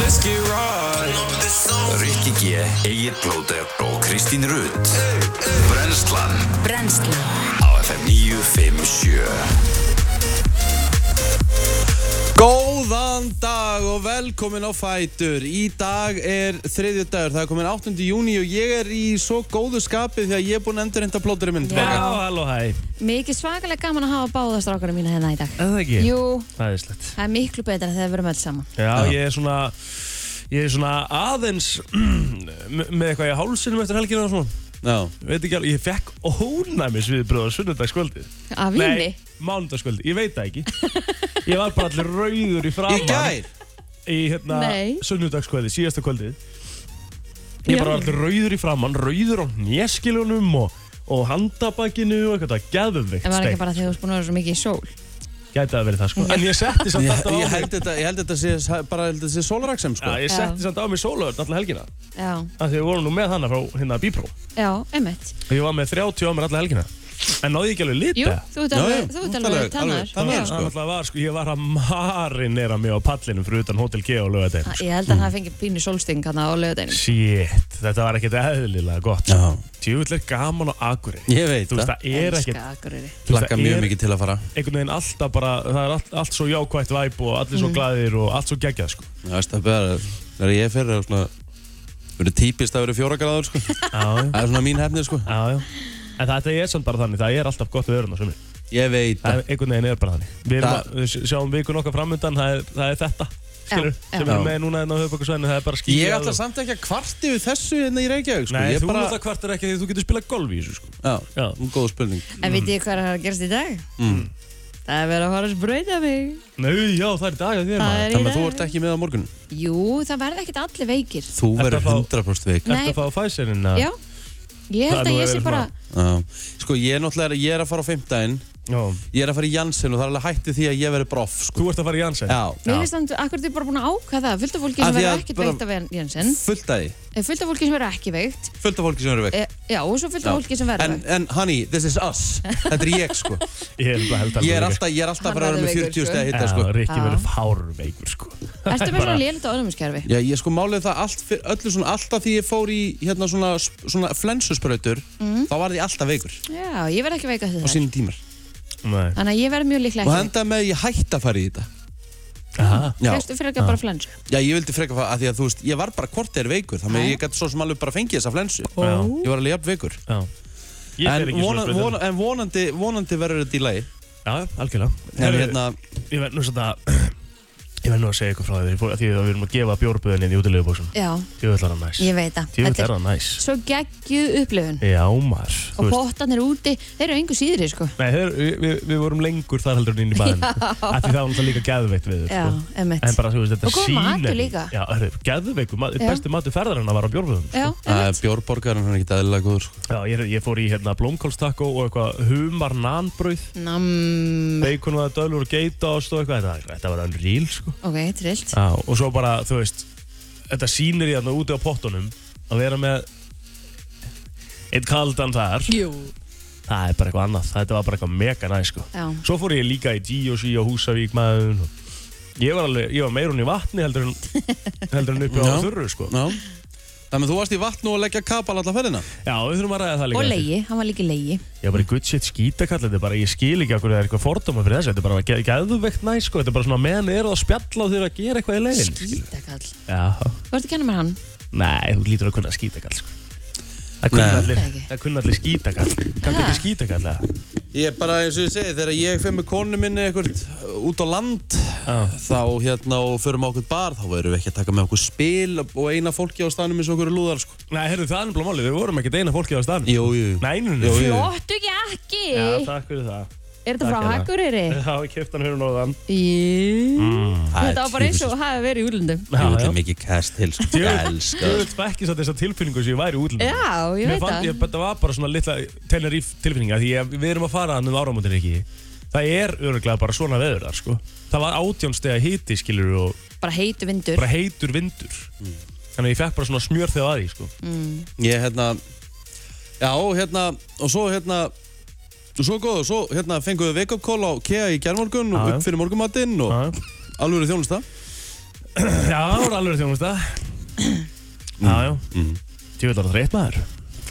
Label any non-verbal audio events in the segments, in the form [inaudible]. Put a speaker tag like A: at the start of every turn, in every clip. A: Let's get right Rikki G, Egil Blóter og Kristín Rutt Brenslan
B: Brennslan
A: á FM 957
C: Góðan dag og velkomin á Fætur. Í dag er þriðju dagur, það er komin 8. júni og ég er í svo góðu skapi því að ég er búinn að endur henda plóturinn minn
D: Já,
C: tilbaka.
D: halló, hæ.
B: Mikið svakalega gaman að hafa báða strákana mína hérna í dag
D: Er það ekki?
B: Jú,
D: Það er slett.
B: það er miklu betra þegar við erum öll saman
D: Já, ég er svona, ég er svona aðeins [clears throat] me- með eitthvað í hálsinum eftir helgina og svona.
C: Já.
D: Veit ekki alveg, ég fekk ónæmis við bröða sunnudagskvöldið.
B: Af vini
D: Nei, mánudagskvöldið, ég veit það ekki. Ég var bara allir rauður í
C: Í
D: framann.
C: gær?
D: Í hérna
B: Nei.
D: sunnudagskvöldið, síðasta kvöldið. Ég bara var allir rauður í framann, rauður á neskilunum og, og handabakinu og eitthvað, geðum veikt
B: En var ekki bara þegar þú erst búin að vera svo mikið í sól
D: Gæti að verið það sko. En ég setti samt
C: Ég,
D: alltaf á
C: ég,
D: mig.
C: held þetta, ég held þetta sé bara ég held þetta sé sólraksem sko.
D: Já, ég setti samt á mig sólaörn alla helgina
B: Já,
D: af því við vorum nú með hana frá hérna Bípró og
B: já, einmitt
D: ég var með 30 á mér alla helgina en náði ég ekki alveg lita
B: Jú, þú ert
C: Já, já,
B: alveg, þú ert
C: þú ert
B: alveg
C: alveg- alveg
B: tannar
C: tannaður,
B: Já.
C: sko.
D: Það náttúrulega var, sko, ég var að marinera mig á pallinum fyrir utan Hotel G og lögadegin
B: Ég held að hann fengi pínu sólsting hann á lögadeinum
D: Shit, þetta var ekkert eðlilega gott
C: Já.
D: Tjúvill er gaman á Akureyri
C: Ég veit
D: Þú veist,
C: það.
D: það er ekkert þú veist,
C: Plakka
D: það
C: mjög
D: er
C: mikið til að fara.
D: Einhvern veginn alltaf bara, það er allt, allt svo jákvætt væp og allir
B: Mm.
D: svo glaðir og allt svo geggjað, sko
C: Já, veist það beðar að þegar ég fer er svona verið típist að vera fjóra gráður sko.
D: Já, já,
C: Það er svona mín hefnið sko.
D: já, já En þetta er samt bara þannig, það er alltaf gott við öðrun á sömur
C: Ég veit
D: Það
C: það.
D: er einhvern veginn er bara þannig Við erum
C: Það-
D: að, við sjáum vikun okkar framöndan það, er- það er þetta skilur,
B: Já, já.
D: sem við erum
C: Já.
D: með núna en á höfbökkarsvæðinu það er bara skýjað
C: Ég ætla
D: og-
C: samt ekki að kvarti við þessu hérna í Reykjavík sko.
D: Nei,
C: Ég
D: þú bara...
C: bara-
D: það kvartar ekki því þú getur
C: um
D: spilað golf í þessu sko.
C: Já,
D: Já.
C: góð spurning.
B: En vitið þið hvað er að gerast í dag?
C: Mm.
B: Það er verið að fara að sprauta mig
D: Nei, já, það er í dag að þér
B: Það
D: maður
B: er í
C: Þannig að þú ert
B: dag
C: ekki með á morgun?
B: Jú, það verða ekkert allir veikir
C: Þú
D: Ertu
C: verður
D: að fá-
C: 100% veik.
D: Ertu
B: Nei.
D: að fá Pfizerinn að
B: Já, ég
D: Það er
B: held
D: nú
B: að ég
D: verið
B: sé bara
C: Já. Sko ég er náttúrulega, ég er að fara á fimmdægin,
D: Já.
C: ég er að fara í Janssen og það er alveg hætti því að ég verði broff, sko.
D: Þú ert að fara í Janssen
C: Já.
B: Mér finnst þannig, akkur þið bara búin að ákvæða það, fullt af fólki
C: Af
B: sem
C: því
B: verður
C: að
B: ekkert
C: bara-
B: veikt af Jensen,
C: Fullt af því.
B: fullt af fólki sem verður ekki veikt,
C: Fullt af fólki sem verður veik.
B: e, já, og svo fullt af fólki sem verður
C: En,
B: veikt.
C: en honey, this is us. Þetta er ég, sko.
D: [laughs] Ég er bara held að
C: Ég er alltaf, ég er alltaf
B: Hann
C: bara að vera með
B: verður veikur,
C: 40
B: sko.
C: stegi hitta,
D: Já,
C: sko.
D: Rikki
B: Já.
D: verður fárveikur sko.
B: Ertu með svona lélit á öðnumiskerfi?
C: Já, ég sko málið það allt, fyr, öllu svona, alltaf því ég fór í hérna svona, svona flensuspröytur, þá var því alltaf veikur
B: Mm. Já, ég verð ekki veik af því
C: á
B: það.
C: sínum tímar.
D: Nei.
B: Þannig að ég verð mjög
C: Og
B: líklega ekki veikt.
C: enda með að ég hætti að fara í þetta.
D: Aha.
C: Já,
B: Fyrstu fyrir ekki bara flensu.
C: já, ég vildi freka það að því að þú veist, ég var bara hvort er veikur, þannig að ég gæti svo sem alveg bara fengið þessa flensu.
D: Já.
C: Ég var alveg jafn veikur.
D: Já. Ég fer
C: En,
D: ekki
C: vona,
D: svona spilað
C: vona, en vonandi, vonandi verður þetta í lagi
D: Já, já, algjörlega
C: En
D: Herru,
C: hérna,
D: Ég verð nú svona Ég verð nú að segja ykkur frá því þegar ég fór- Því að við erum að gefa bjórböðinni í útilegubóksum
B: Já,
D: Djúvill var það næs
B: ég veit það.
D: Djúvill
B: Þetta
D: er
B: er
D: það næs
B: svo geggjuð upplifun.
D: Já maður þú
B: Og
D: veist.
B: pottarnir úti, þeir eru engu síðri, sko.
D: Nei, þeir, við, við, við vorum lengur þar heldur en inn í bæðin Af því það var náttúrulega líka geðveikt við
B: Já,
D: sko. En
B: emitt.
D: bara þú veist þetta
B: Og góð
D: sýnir-
B: matur líka.
D: Já, hörru, geðveiku mat,
B: Já.
D: Besti matur ferðarinn var á bjórböðum
B: Já,
C: að
B: emitt.
C: bjórborgarinn hann er ekki aðeinslega góður sko.
D: Já, ég, ég fór í hérna blómkálstakko og eitthvað humar nanbröð
B: Nam,
D: Bacon og dölur og geitaost og eitthvað Þetta, þetta var unreal sko
B: ok, trillt.
D: Já, og svo bara, þú veist Þetta sýnir ég þarna úti á pottunum Að vera með Eitt kaldan þar
B: Jú.
D: Það er bara eitthvað annað, þetta var bara eitthvað mega næ sko.
B: Já.
D: Svo fór ég líka í G.O.C. á Húsavík maður og Ég var, alveg, ég var meirun í vatni heldur en,
B: [laughs]
D: heldur en uppi á
C: Já.
D: þurru sko.
C: Já. Þannig að þú varst í vatn og að leggja kapal alla ferðina
D: Já, við þurfum að ræða það líka
B: Og
D: eftir.
B: leiði, hann var líka leiði.
D: Ég var bara í good shit skítakall Þetta er bara, ég skil ekki okkur það er eitthvað fordóma fyrir þessu Þetta er bara ge geðveikt næ sko. Þetta er bara svona meðan eru að spjalla og þau eru að gera eitthvað í leiðin
B: Skítakall.
D: Já,
B: Þú ert að kenna mér hann?
D: nei, þú lítur að kunna skítakall sko. Það kunna
C: Nei.
D: allir,
B: Það ekki.
D: það kunna allir skítakall Kanntu
B: Ha?
D: ekki skítakall eða?
C: Ég er bara eins og ég segi, þegar ég fer með konu minni eitthvað út á land þá hérna og förum á okkur bar þá verðum við ekki að taka með okkur spil og eina fólki á stanum eins og okkur er lúðar sko.
D: Nei, heyrðu, það er náttúrulega málið Við vorum ekkert eina fólki á staðnum
C: Jú, jú, jú.
D: Nei, nei, nei
C: Jú, jú.
B: Flottu jakki!
D: Já, takk fyrir það
B: Er þetta frá
D: Takk hérna.
B: Akureyri?
D: Já, ég kæft hann hérna og þann
B: Jú.
C: Það er
B: Þetta var bara eins og hafi verið í útlöndum.
C: Ég vil
D: Já, já.
C: er mikið kæst til sko.
D: Ég
C: Ég
D: veit-
C: elska
D: Ég
C: það,
D: veit ekki satt þessa tilfinningu sem ég væri útlum
B: Já, ég veit
D: fann,
B: það.
D: ég, Þetta var bara svona litla Tenerife tilfinninga Því ég, við erum að fara hann um áramótin ekki Það er öruglega bara svona veður þar sko Það var átjónstega hiti skilur og
B: Bara heitu vindur.
D: bara heitur vindur Þannig að ég fekk bara svona smjör þegar að því sko
B: Mm.
C: sko. Ég hérna Já, hérna, og svo hérna og svo góð, og svo hérna fengum við wake-up call á KEA í gerðmorgun og
D: Já, já.
C: upp fyrir morgumatinn og
D: Já.
C: alveg þjónusta
D: Já, ára alveg þjónusta Jájá Tjóðlar það reitt maður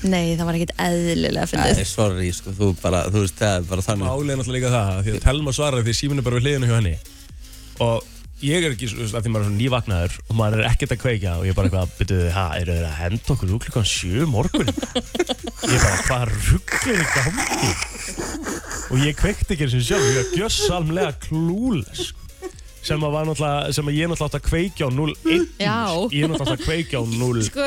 B: Nei, það var ekkit eðlilega að
C: Æ,
B: fyndið.
C: sorry, sko, þú bara, þú veist, það er bara þannig
D: Málið er náttúrulega líka það Því að Telma svaraði því síminn er bara við hliðinu hjá henni Og ég er ekki, þú veist, að því maður er svona nývagnaður Og maður er ekkert að kveika Og ég er bara eitthvað, byrjuðu, hæ, eru þeir að henda okkur úr klukkan sjö morgun? Ég er bara, hvað rugglir í gangi? Og ég kveikti ekki eins og sjálf Ég er gjössalmlega klúles sem að, var náttúrulega, sem að ég náttúrulega átt að kveikja á 0-1
B: Já.
D: Ég er náttúrulega átt að kveikja á 0-1
B: Sko,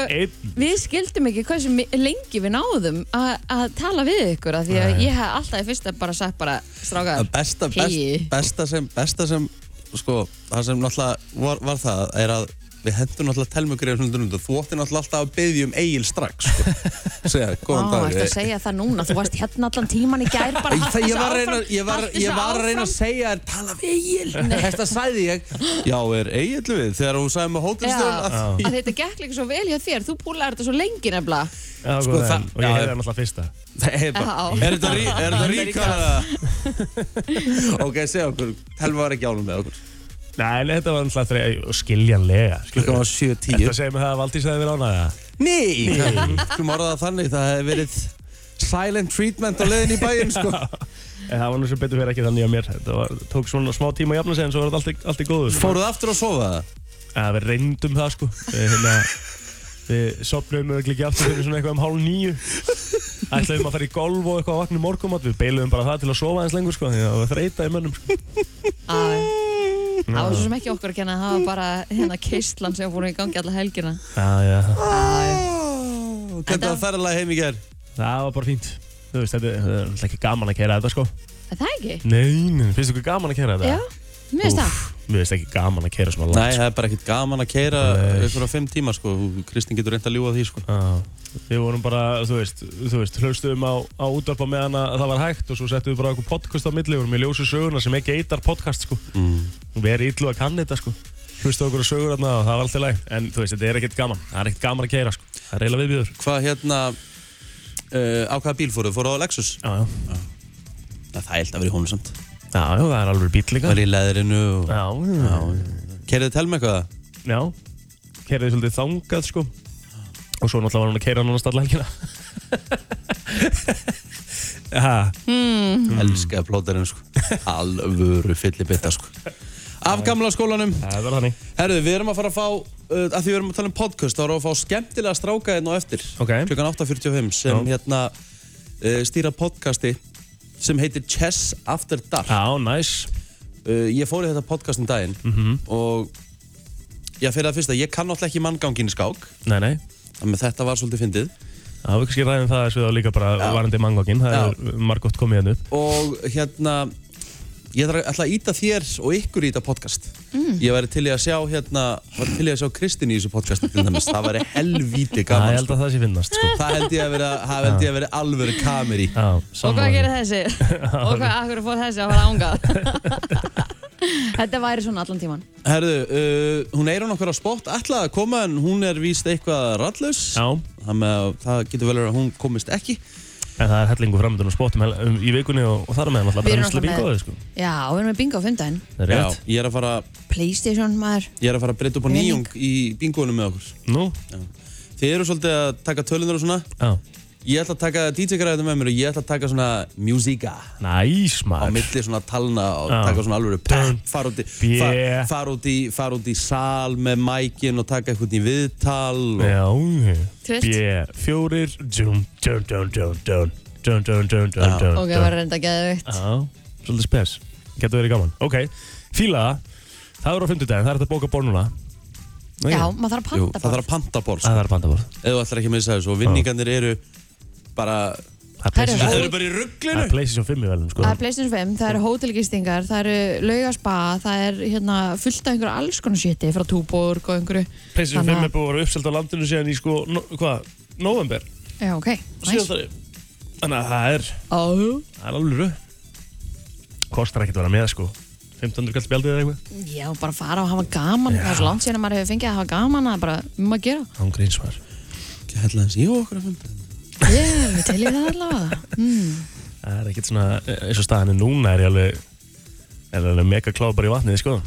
B: við skildum ekki hversu mi- lengi við náðum að að tala við ykkur af því að ég hef alltaf í fyrsta bara sagt bara strákar,
C: að besta, best,
B: hey.
C: besta sem, besta sem sko, það sem náttúrulega var, var það er að við hendum náttúrulega telmugrið og þú ótti náttúrulega alltaf að byggja um eigil strax sko.
B: [laughs]
C: segja, góðan
B: Ó,
C: dag
B: ertu að segja það núna, þú varst hérna allan tíman í gær bara
C: Ég, það,
B: haltu
C: ég, var
B: þessu
C: að reyna,
B: áfram,
C: ég, var,
B: haltu
C: ég
B: þessu
C: var að reyna að
B: áfram.
C: segja þér tala við Egil Þetta sagði ég Já, er Egil við þegar hún sagði með hótelstjórn
B: Já,
C: að
B: að þetta gekk líka svo vel hjá þér, þú púlaði þetta svo lengi nefnilega.
D: Já,
C: Sko,
D: góðan
C: það-
D: daginn. Og ég
C: já,
D: hefði
C: já.
D: náttúrulega fyrsta
C: Það er bara,
B: Já.
C: er þetta rí- er þetta ríkara? ok, segja okkur, Telma var ekki ánum með okkur
D: Nei, nei, þetta var náttúrulega þrei- og skiljanlega
C: Klukkan var
D: Þetta
C: 7.10
D: segir mig það að Valdís hefði verið ánægða
C: Nei, skulum orða það þannig Það hefði verið silent treatment á leiðin í bæinn sko.
D: [laughs] En það var nú sem betur fyrir ekki þannig að mér Þetta var, tók svona smá tíma að jafna sig en svo var þetta allt, í- allt í góðu sko.
C: Fóruð aftur að sofa það?
D: Að við reyndum það sko Við, hérna, við sopnum örugglega ekki aftur fyrir svona eitthvað um hálf nýju Ætlaðum að fara í golf og eitthvað að vakna morgumat Við beiluðum bara það til að sofa eins lengur sko Því að það var þreita í
C: [laughs]
D: mönnum sko.
B: Á, Það var svo sem ekki okkur að kenna, það var bara hérna keistlan sem fórum í gangi alla helgina.
D: Já, já,
C: Hvernig var ferðalega heim í ger?
D: það var bara fínt Þú veist, þetta þetta er náttúrulega ekki gaman að kæra þetta sko
B: Er Það ekki?
D: Nei, nei, finnst ykkur gaman að kæra þetta?
B: Já, mér finnst það.
D: Úff, Mér finnst ekki gaman að keira svona
C: Nei,
D: langt
C: það er bara ekkert gaman að keira
D: Nei.
C: ykkur á fimm tíma sko. Kristinn getur reynd að ljúa því sko.
D: sko. Við vorum bara, þú veist, þú veist hlustuðum á, á útvarpa meðan að það var hægt og svo settum við bara eitthvað podcast á milli við vorum í ljósu söguna sem ekki eitar podcast sko.
C: Mm.
D: og við erum illu að kanna þetta sko. hlustuðu okkur á sögur þarna og það var alltaf læg en þú veist, þetta er ekkert gaman, það er ekkert gaman að keira sko. það er eiginlega viðbjöður
C: Hvað hérna uh, Á hvaða bíl fóruð? Fóruð á Lexus?
D: Já, já,
C: Nei, það er held að vera í honum samt
D: já, já, það er alveg bíl líka
C: Var í leðrinu og...
D: Já, já,
C: Keirið Telma eitthvað?
D: já Kerðið svolítið þangað sko Og svo náttúrulega var hún að keira núna stalla helgina [laughs] Já,
C: Mm. Elskar plóterinn sko. Alvöru fyllibitta sko. Af gamla skólanum
D: það var þannig
C: Herðu, við erum að fara að fá, uh, að því við erum að tala um podcast, þá erum við að fá skemmtilega stráka hérna á eftir,
D: Ok.
C: klukkan 8.45, sem
D: Já.
C: hérna uh, stýra podcasti sem heitir Chess After Dark.
D: Já, næs
C: Uh, ég fór í þetta podcast um daginn -hmm. og ég fyrir það fyrsta, ég kann alltaf ekki manngangin í skák,
D: Nei, nei
C: þannig að þetta var svolítið fyndið.
D: Það var kannski ræðin um það þessu þá líka bara varandi mangokkin Það er margótt komið hennu upp
C: Og hérna, ég ætla, ætla að íta þér og ykkur í þetta podcast. Mm. Ég væri til í að sjá hérna, væri til í að sjá Kristín í þessu podcasti til dæmis, það væri helvíti
D: Það
C: gaman.
D: ég
C: sko.
D: held að það sé finnast sko
C: Það held ég að vera, það held ég að vera alvöru kamer í.
D: Já,
B: Og hvað
D: sammála.
B: gerir þessi?
D: [laughs]
B: Og hvað, akkur fór þessi að fara ángað? Þetta væri svona allan tíman.
C: Herðu, uh, hún eir hún okkur á spott, ætlaði að koma en hún er víst eitthvað rallus.
D: Já,
C: Þannig að það getur vel verið að hún komist ekki.
D: en það er hellingu framöndun og spottum hel- um, í vikunni og, og þar á meðan alltaf
B: Við erum
D: brennslu
B: náttúrulega
D: bingoði sko
B: Já, við erum með bingo á fimmdæðin.
D: Það er rétt
C: ég er að fara,
B: Playstation maður.
C: ég er að fara að breyta upp á
B: Pening.
C: nýjung í bingoðunum með okkur.
D: Nú,
C: Þið eru svolítið að taka tölunar og svona.
D: já
C: Ég ætla að taka DJ-græðinu með mér og ég ætla að taka svona musíka
D: Næs
C: á
D: maður
C: milli svona talna og
D: Já.
C: taka svona alvöru
D: Dun,
C: pepp, fara út, í,
D: yeah.
C: far, far, út í, far út í sal með mækin og taka eitthvað í viðtal og
D: Já,
B: Trillt.
D: bjö, fjórir Djum, djum, djum, djum, djum Djum, djum, djum, djum, djum
B: Og það var reynda geðvikt.
D: Já, svolítið spes Getur verið gaman Ok, fíla það Það er á 50 það er þetta að bóka bór núna Nei,
B: Já, maður þarf að
C: Jú,
B: panta
C: það þarf
B: bara.
C: að panta bór sko.
D: Það er bandabór
C: Ef þú ætlar ekki að missa þessu og vinningarnir eru bara
D: Það er Playstation-
B: Herru,
C: Þeir eru bara í
D: það
C: rugglinu
D: er Playstation 5 í velum sko
B: Það er Playstation 5, það eru hótelgistingar, það eru laugaspa, það er hérna fullt af einhverju alls konar shiti frá túborg og einhverju.
D: Playstation
B: Þannig að-
D: 5 er búið að vera uppselt á landinu síðan í sko, no, hvað, november
B: Já, ok. Næs.
D: síðastari Þannig að það er,
B: Áhú.
D: það er alveg röð Kostar ekkert að vera með sko 1500 kall spjaldið eða eitthvað
B: Já, bara fara og hafa gaman. Það er svo langt síðan að maður hefur fengið að hafa gaman að bara, um að gera.
D: Án gríns maður
C: Hella hans, jú okkur að funda
B: Yeah, við teljum það allavega. Mm,
D: Það er ekkert svona, eins og staðan er núna er ég alveg Er alveg mega kláð bara í vatnið sko
B: Og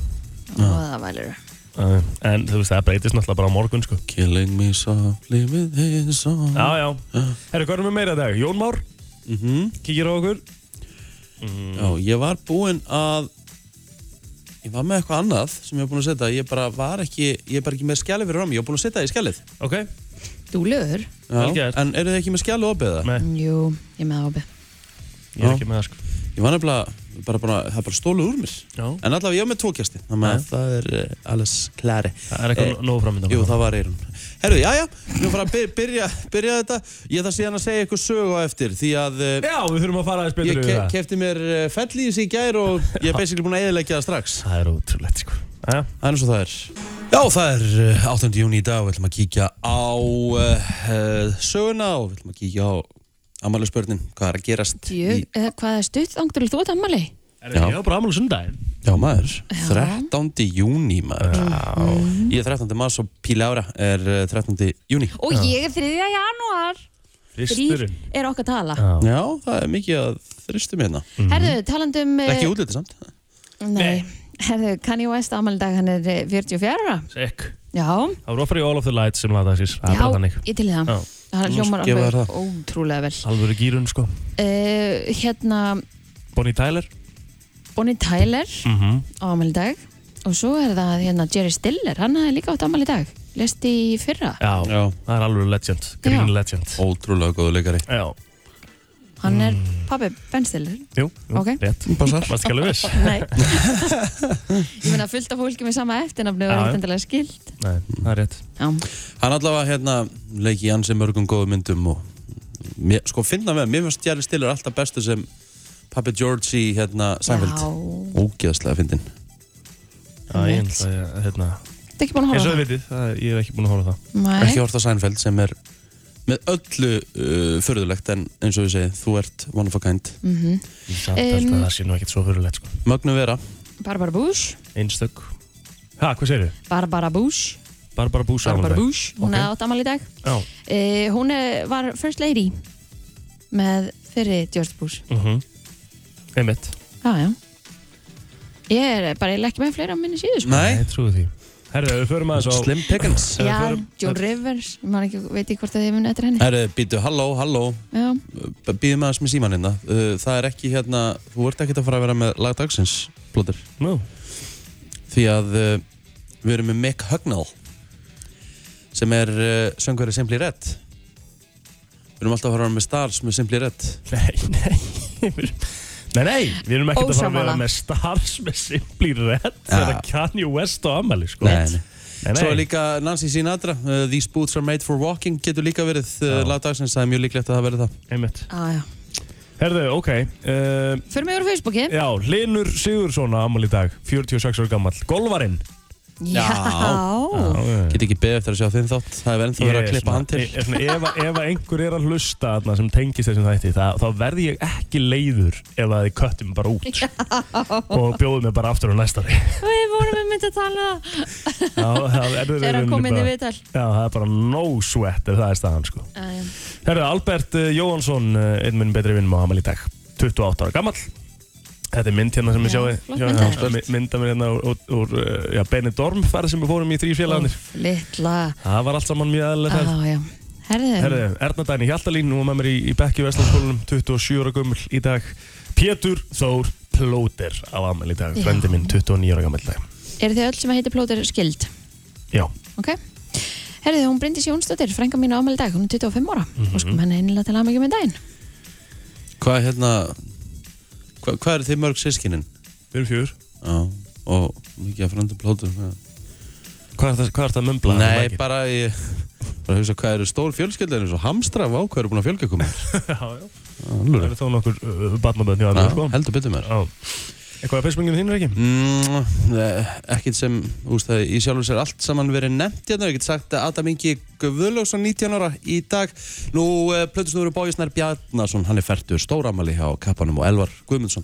B: það vælir.
D: Uh, en þú veist, það breytist náttúrulega bara á morgun sko.
C: Killing me softly with his song Ah.
D: Já, já Herru, hvað erum við meira í dag? Jón Már
C: mm -hmm.
D: Kíkir á okkur
C: Mhm. Já, ég var búinn að Ég var með eitthvað annað sem ég var búinn að setja Ég bara var ekki, ég er bara ekki með skjalið fyrir rami Ég var búinn að setja það í skjalið
D: Ok,
B: Þú lögur?
D: Vel
C: Já,
D: gert.
C: En eru þið ekki með skjalið opið það?
D: Nei.
B: Jú, ég er með ábyrð.
D: ég er
C: Já.
D: ekki með það sko
C: Ég var nefnilega, bara, bara, það er bara stóluð úr mér
D: Já.
C: En allavega ég var með tvo kjasti Þannig að það er uh, alls klæri
D: Það er eitthvað nógu framöndan
C: Eh, Jú, það var Eirun. Herru, já, já, við erum bara að byr- byrja, byrja þetta. Ég þarf síðan að segja ykkur sögu á eftir, því að uh,
D: Já, við þurfum að fara aðeins
C: ég
D: betur
C: ke
D: yfir það
C: kefti mér uh, fellís í gær og ég er basically búinn að eðilegja það strax.
D: Það er ótrúlegt sko Jæja.
C: Það er eins og það er. Já, það er uh, 8. júni í dag og við ætlum að kíkja á uh, uh, söguna og við ætlum að kíkja á amalega hvað er að gerast
B: Jú,
C: í...
B: eða eh, hvað er stutt þangtur þú ert ammali?
D: Er það ekki bara amal og sundaginn?
C: Já, maður, 13. júni, maður. Ég er 13. mars og Píla Ára er uh, 13. júni.
B: Og ég er 3. janúar. Þrýr
D: Fristurinn
B: er okkar tala.
D: Já. Mm.
C: Já, það er mikið að þristum hérna.
B: Herðu, talandum... eh,
C: Ekki útlitið samt.
B: Nei. Herðu, Kanye West ámali dag, hann er eh, 44 ára.
D: Sekk
B: Já,
D: Það voru að fara í All of the Lights sem laða þessis Það er bara
B: já,
D: þannig
B: ég til í það.
D: Já.
B: Hann
C: Þú
B: hljómar
C: mást gefa þér
B: alveg
C: það.
B: ótrúlega vel.
D: Alvöru gýrun sko
B: Uh, hérna,
D: Bonnie Tyler
B: Bonnie Tyler
C: Mhm.
B: á ámali dag og svo er það hérna Jerry Stiller, hann hefði líka átt ámali dag. Lest í fyrra.
D: Já,
C: Já.
D: það er alvöru legend Green
B: Já.
D: legend
C: Ótrúlega góðu leikari.
D: Já,
B: Hann er pabbi Ben Stiller.
D: jú, jú
B: Ok.
D: rétt
C: Passar.
D: Mm. Varst ekki alveg viss?
B: [laughs] Nei. ég meina fullt af fólki með sama eftirnafni og
D: Já, já.
B: ekkert endilega skilt.
D: Nei, það er rétt
B: Já.
C: Hann allavega hérna leiki í ansi mörgum góðu myndum og mér, sko finna með, mér finnst Jerry Stiller alltaf bestu sem Pappi George í hérna Seinfeld.
B: Já.
C: Ógeðslega fyndin.
D: Já, ég held að ég, hérna
B: Þetta er ekki búin að
D: Eins og
B: horfa á
D: þið vitið, það- ég er ekki búin að horfa á það
B: það. Nei.
C: Ekki hort á Seinfeld sem er með öllu uh, förðulegt en eins og við segið, þú ert one of a kind.
B: Mhm.
D: Ég Samt held
B: Um,
D: að það sé nú ekkert svo fyrirlegt sko
C: Mögnu vera.
B: Barbara Bush.
D: Einstök Ha, hvað segir þið?
B: Barbara Bush.
D: Barbara Bush
B: Barbara
D: Amalberg.
B: Bush. Hún
D: Ok.
B: hefði átt ámali dag.
D: Já
B: Uh, hún er, var first lady með fyrri George Bush.
D: mhm. Einmitt
B: Já, já. Ég er bara, ég legg ekki með fleira á minni síðu, sko.
C: Nei.
D: Ég trúi því Herðu, við förum aðeins á
C: Slim Pickens.
D: Ef við
B: Já,
D: förum-
B: Joan Rivers, ég man ekki, veit ekki hvort að þið muni eftir henni.
C: Herri, býtu, halló, halló,
B: Já,
C: býðum aðeins með síman hérna. Uh, Það er ekki hérna, þú ert ekki að fara að vera með lagdagsins, blóður.
D: Nú,
C: því að uh, við erum með Mick Hugnall sem er uh, söngveri Simply Red við erum alltaf að fara með stars með Simply Red
D: nei, nei Við erum- Nei, nei, við erum ekkert að fara að vera
B: Ósammála.
D: með stars með Simply Red þegar Kanye West á Amali sko
C: Nei, nei.
D: nei,
C: svo er líka Nancy Sinatra uh, These Boots Are Made For Walking getur líka verið uh,
D: Já.
C: lagdagsins, það er mjög líklegt að það verði það
D: Einmitt
B: já, Ah, já.
D: Herðu, ok uh,
B: Fyrir mig úr Facebooki.
D: Já, Linur Sigursson á Amali í dag 46 ára gammal Golvarinn
B: Já.
D: Já, já, já.
C: get ekki beðið eftir að sjá þinn þátt það er verið ennþá verið að
D: Ég er
C: klippa hann til
D: ég er svona, ef, að- ef að einhver er að hlusta þarna sem tengist þessum þætti það, þá verð ég ekki leiður ef að þið köttum bara út sko. og bjóðum mig bara aftur á næstari
B: [laughs] Við vorum við myndið að tala það. Þegar
D: þegar
B: hann kom inn í viðtal.
D: Já, það er bara no sweat ef það er staðan sko.
B: Já, já.
D: Herðu, Albert eh, Jóhansson, eh, einn minn betri vinn á Amal í dag, 28 ára gammal Þetta er mynd hérna sem ég
B: Já,
D: sjáði
B: flott mynd af
D: mynd, mynd af mér hérna úr, úr, úr eh, já, Benidorm farið sem við fórum í þrý félagarnir
B: Úff, Litla.
D: Það var allt saman mjög aðlega
B: Já, já. Herðu.
D: Herðu, Erna Dæni Hjaltalín, nú er með mér í, í Bekki Vestlandskólanum, 27 ára gömul í dag. Pétur Þór Plóter á Amel í dag,
B: Já.
D: frendi minn, 29 ára gammal í dag.
B: Eru þið öll sem heitir plótir skild?
D: Já,
B: Ok. Herðu, hún Bryndís Jónsdóttir, frænka mín á ámæli dag, hún er 25 ára. Mm
C: Mhm.
B: -hmm. Og sko, henni einlega til aðmyggjum með daginn.
C: hvað er hérna hvað, hvað er þið mörg sískinin
D: við erum fjör.
C: Já, og mikið að frönda plótur já.
D: Hvað er það, hvað er það að mömbla?
C: Nei, bara ég bara hugsa hvað eru stór fjölskyldar eins og hamstra, vá, hvað eru búin að fjölga koma
D: Já, já. Það eru þó nokkur uh, barnaböðn hjá
C: Já,
D: Amel, sko.
C: heldur betur mér
D: Já. Eitthvað að fyrstmenginu þínu, ekki?
C: mm, eh, ekkert sem, úst það í sjálfur sér allt saman verið nefnt hérna, ég get sagt að Adam Ingi Guðlaugsson 19 ára í dag nú eh, plötusnúru Bóisnær Bjarnason hann er færtur stóramali hjá kappanum og Elvar Guðmundsson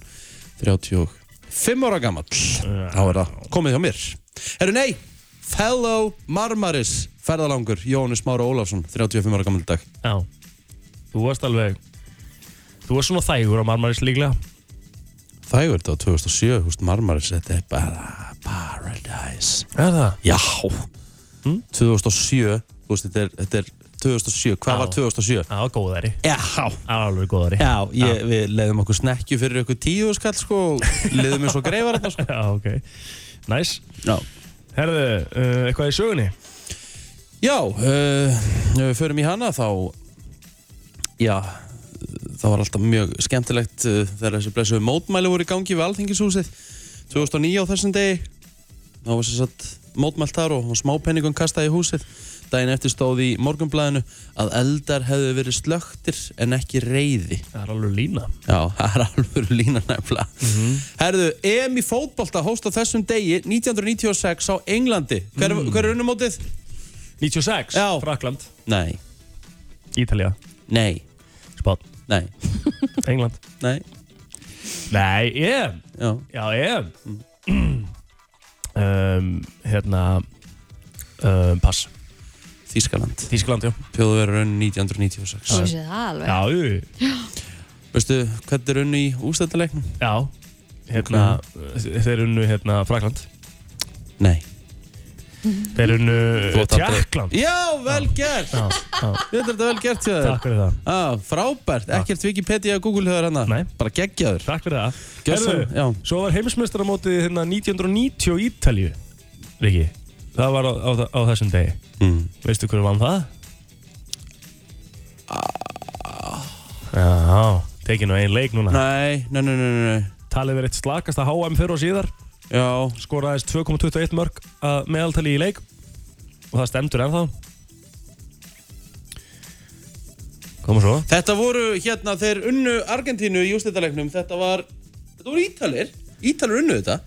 C: 35 ára gammal þá er það komið hjá mér Herru nei, fellow Marmaris ferðalangur Jónis Mára Ólafsson 35 ára gammal í dag
D: Já. Þú varst alveg... Þú varst svona þægur á Marmaris líklega.
C: Þægur þetta á 2007, húst Marmaris, þetta er bara paradise. Guys
D: Er það? Hm?
C: Já 2007 Þú veist, þetta er, þetta er 2007 Hvað
D: Já.
C: var 2007?
D: Já, góðari
C: Já
D: Alveg góðari
C: Já, ég, við leiðum okkur snekkju fyrir okkur tíu skall sko og leiðum eins og greifar þetta sko
D: [laughs] Já, ok Næs
C: Já,
D: Herðu, uh, eitthvað í sögunni?
C: já uh, ef við förum í hana þá Já, það var alltaf mjög skemmtilegt uh, þegar þessi blessuðu mótmæli voru í gangi við Alþingishúsið 2009 á þessum degi þá var sér satt mótmælt þar og smápenningum kastaði í húsið daginn eftir stóð í morgunblæðinu að eldar hefðu verið slöktir en ekki reyði
D: Það er alveg lína Mhm.
C: Já, það er alveg lína nefnilega. Herðu, EM í fótbolta hóst á þessum degi 1996 á Englandi. Hver,
D: Mm.
C: hver er unnumótið?
D: 96
C: Já.
D: Frakland
C: Nei,
D: Ítalja
C: nei,
D: Spán
C: nei,
D: England
C: nei,
D: Nei, EM
C: já.
D: Já, EM um, Hérna um, Pass
C: Þískaland.
D: Þískland, já
C: Pjóðu verið unni 1996.
B: Þú sé það alveg.
D: Já, jú.
C: Veistu, hvernig er unni í ústættaleiknum?
D: já Hérna, þeir unnu hérna Frakland
C: Nei.
D: Þeir unnu
C: Þú átt aldrei-
D: Tjekkland
C: Já, vel gert!
D: Eh, Já, já,
C: Þetta er þetta vel gert hjá þér.
D: takk fyrir það
C: Ah, frábært, ekkert Wikipedia og Google höfður hana.
D: Nei.
C: Bara geggjaður.
D: Takk fyrir það
C: Gjörðu, já.
D: svo var heimsmeistaramótið hérna 1990 í Ítalju Riki, það var á, á, á þessum degi
C: Mm.
D: Veistu hverju vann það? Já, tekið nú ein leik núna
C: Ah. Nei, nei, nei, nei, nei, nei.
D: Talið verið eitt slakast að HM fyrir og síðar
C: Já,
D: Skoraðist 2.21 mörg að meðaltali í leik Og það stemdur ennþá Koma svo
C: Þetta voru hérna þeir unnu Argentínu í úrstættalegnum Þetta var, þetta voru Ítalir Ítalir unnu þetta,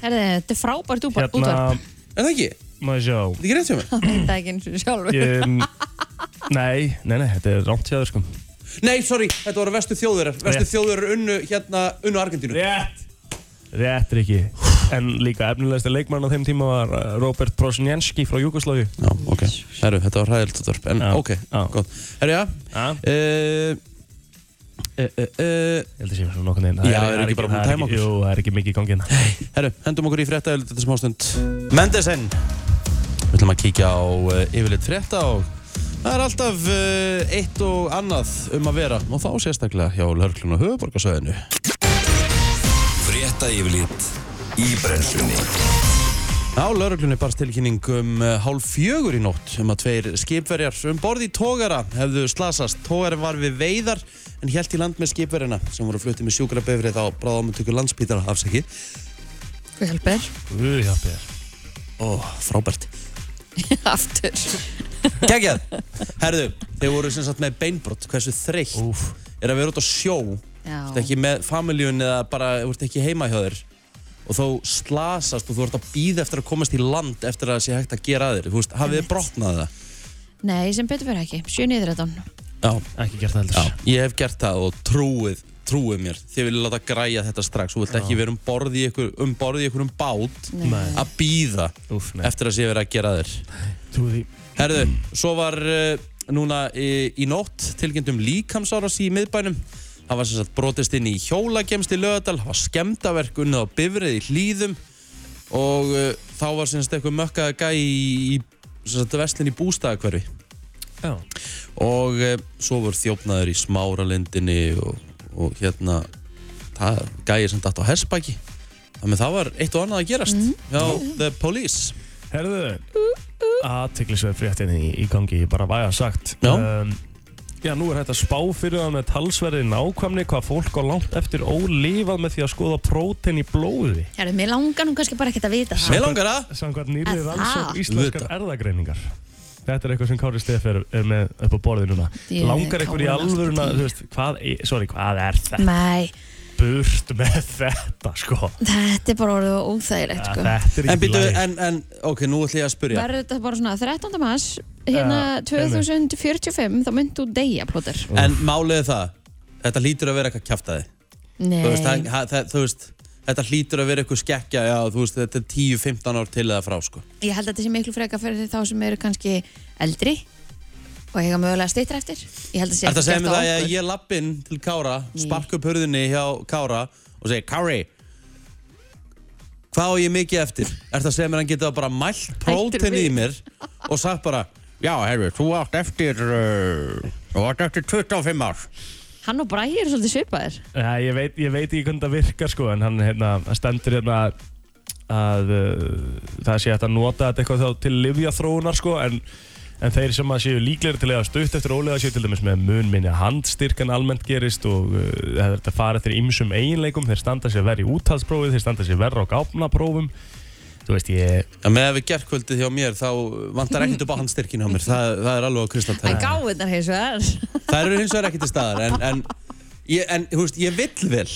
B: Herði, þetta er frábært úpa-
D: Hérna,
B: útvarp.
C: er það ekki? Er
D: maður sjá
C: það ekki rétt hjá mér?
B: [laughs] Það veit það ekki eins og sjálfur.
D: um, Nei, nei, nei, þetta er rámt hjá þér sko
C: Nei, sorry, þetta voru vestu þjóðurar Vestu
D: Rétt.
C: þjóðurar unnu hérna, unnu Argentínu
D: Rétt Rétt er ekki En líka efnilegasta leikmann á þeim tíma var uh, Robert Prosnjanski frá Júkoslavi
C: Já, ok, herru, þetta var hræðilt útvarp En
D: Já,
C: ok,
D: já.
C: gott Herru, já
D: Já.
C: Eh, eh, eh, eh,
D: Ég held að sé mér svona nokkuð neina
C: Já, eru ekki bara búin að tæma okkur?
D: Jú, það er ekki mikið í hérna. gangina
C: Herru, hendum okkur í frétta yfirlit þetta smástund Mendesen Við ætlum að kíkja á uh, yfirlit frétta og það er alltaf uh, eitt og annað um að vera og þá sérstaklega hjá Lörglun og Höfuborgarsöðinu
A: Frétta yfirlit í brennslunni
C: Á lauruglunni barst tilkynning um uh, hálf fjögur í nótt um að tveir skipverjar um borð í tógara hefðu slasast. Tógari var við veiðar en hjælt í land með skipverjana sem voru fluttið með sjúkrabefrið á bráðamöntöku landspítara afsaki.
B: Hvað hjálpar?
D: Jú, já, Pér
C: Ó, frábært.
B: [laughs] Aftur.
C: Kækjað! Herðu, þeir voru sem sagt með beinbrott, hversu þreytt
D: Úf
C: er að vera út á sjó,
B: Já.
C: þú ert ekki með familíun eða bara, þú ert ekki heima hjá þér og þó slasast og þú ert að býða eftir að komast í land eftir að það sé hægt að gera að þér, þú veist, hafið þið brotnað það?
B: Nei, sem betur verið ekki. 7.13.
C: Já,
D: Ekki gert það heldur
C: Já, ég hef gert það og trúið, trúið mér Þið viljið láta græja þetta strax Þú vilt ekki vera um borð í ykkur um, borð í ykkur um bát
D: Nei.
C: að býða
D: Úf, nei
C: eftir að sé verið að gera þér
D: Trú því
C: Herðu, svo var uh, núna í, í nótt tilkynntum líkamsáras í miðbænum Það var sem sagt brotist inn í hjólagemst í Lögadal Það var skemmtaverk unnið á bifrið í hlýðum og uh, þá var sem sagt eitthvað mökkaða gæ í, í sem sagt vestlinn í bústæðakverfi
D: Já
C: og e, svo voru þjófnaður í smáralindinni og, og hérna það gæði sem datt á hessbæki þannig að það var eitt og annað að gerast
B: Mhm.
C: hjá The Police
D: Herðu Aðtiklisveð fréttin í, í gangi Ég bara væga sagt
C: Já.
D: um, Já, nú er þetta spá fyrir það með talsverði nákvæmni hvað fólk á langt eftir ólifað með því að skoða prótein í blóði.
B: Herði, mér langar nú kannski bara ekkert að vita það.
C: Mér langar að
D: Samkvæmt nýrið
B: Er það?
D: rannsók íslenskar
C: Auðvitað.
D: erðagreiningar Þetta er eitthvað sem Kári Steff er, er með upp á borði núna
B: Ég-
D: Langar eitthvað
B: Kári
D: í
B: er alltaf
D: alvöruna
B: til.
D: þú veist, hvað, er- Sorry, hvað er þetta?
B: Nei,
D: Burt með þetta sko
B: þetta er bara orðið óþægilegt, sko.
D: Þetta er
C: en,
D: ekki
C: býtu,
D: læg
C: en, en ok, nú ætlum ég að spyrja
B: Verður þetta bara svona 13. mars, hérna
D: Ja,
B: 2045, þá myndi þú deyja, plóter.
C: en málið er það, þetta hlýtur að vera eitthvað kjaftaði
B: Nei.
C: þú veist, það, það, það, þú veist, þetta hlýtur að vera eitthvað skekkja já, þú veist, þetta er 10-15 ár til eða frá sko.
B: Ég held að þetta sé miklu freka fyrir þá sem eru kannski eldri og eiga mögulega stýttir eftir. Ég held að sé
C: Er það að segja
B: gert
C: mig
B: á
C: það að
B: okkur.
C: ég lapp inn til Kára,
B: Ný.
C: sparka upp hurðinni hjá Kára og segja Kári, hvað á ég mikið eftir? Er það að segja mér að hann geta bara mælt próteni í
B: við.
C: mér og sagt bara, já, herru, þú átt eftir, uh, þú átt eftir 25 ár.
B: Hann og Bragi eru svolítið svipaðir.
D: Ja, ég, veit, ég veit ekki hvernig það virkar sko, en hann hérna, hann stendur hérna að uh, það sé hægt að nota þetta eitthvað þá til livjaþróunar sko, en, en þeir sem að séu líklegri til að stutt eftir ólega séu til dæmis með mun minni handstyrk en almennt gerist og uh, það er þetta farið þeir ymsum eiginleikum, þeir standa sér verri í úthalsprófið, þeir standa sér verri á gáfnaprófum þú veist ég
C: Já, með að við gerðkvöldið hjá mér, þá vantar ekkert upp á handstyrkinu
B: [laughs]
C: hjá mér. Það, það er alveg á
B: En
C: kristalltæði.
B: gáðunar hins vegar.
C: Það eru hins vegar ekki til staðar, en, en, ég, en þú veist, ég vill vel.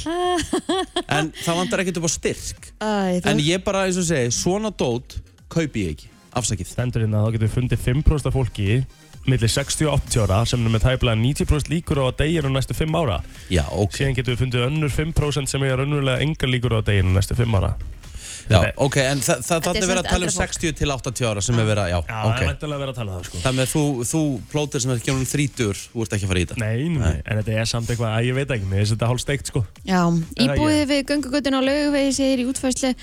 C: En það vantar ekkert upp á styrk.
B: Æ,
C: En
B: þú-
C: ég bara, eins og segi, svona dót kaupi ég ekki. Afsakið.
D: stendur hérna að þá getur við fundið 5% af fólki millir 60 og 80 ára sem er með tæplega 90% líkur á að deyja nú næstu 5 ára
C: Já, ok.
D: síðan getum við fundið önnur 5% sem er raunverulega engar líkur á deginu næstu 5 ára
C: Já, ok, en þa þa
B: Þetta er
C: þannig verið að
B: samt
C: tala um
B: eldra fólk.
C: 60 til 80 ára sem er verið að, já,
D: Já, það er
C: ok.
D: vantilega að vera að tala það sko
C: Þannig að þú, þú plótir sem er ekki ánum 30, þú ert ekki að fara í þetta.
D: Nei, nei, en þetta er samt eitthvað að ég veit ekki, mér finnst þetta hálf steikt sko
B: Já,
D: Er það
B: íbúið við göngugötun á laugvegi segir í útfærslu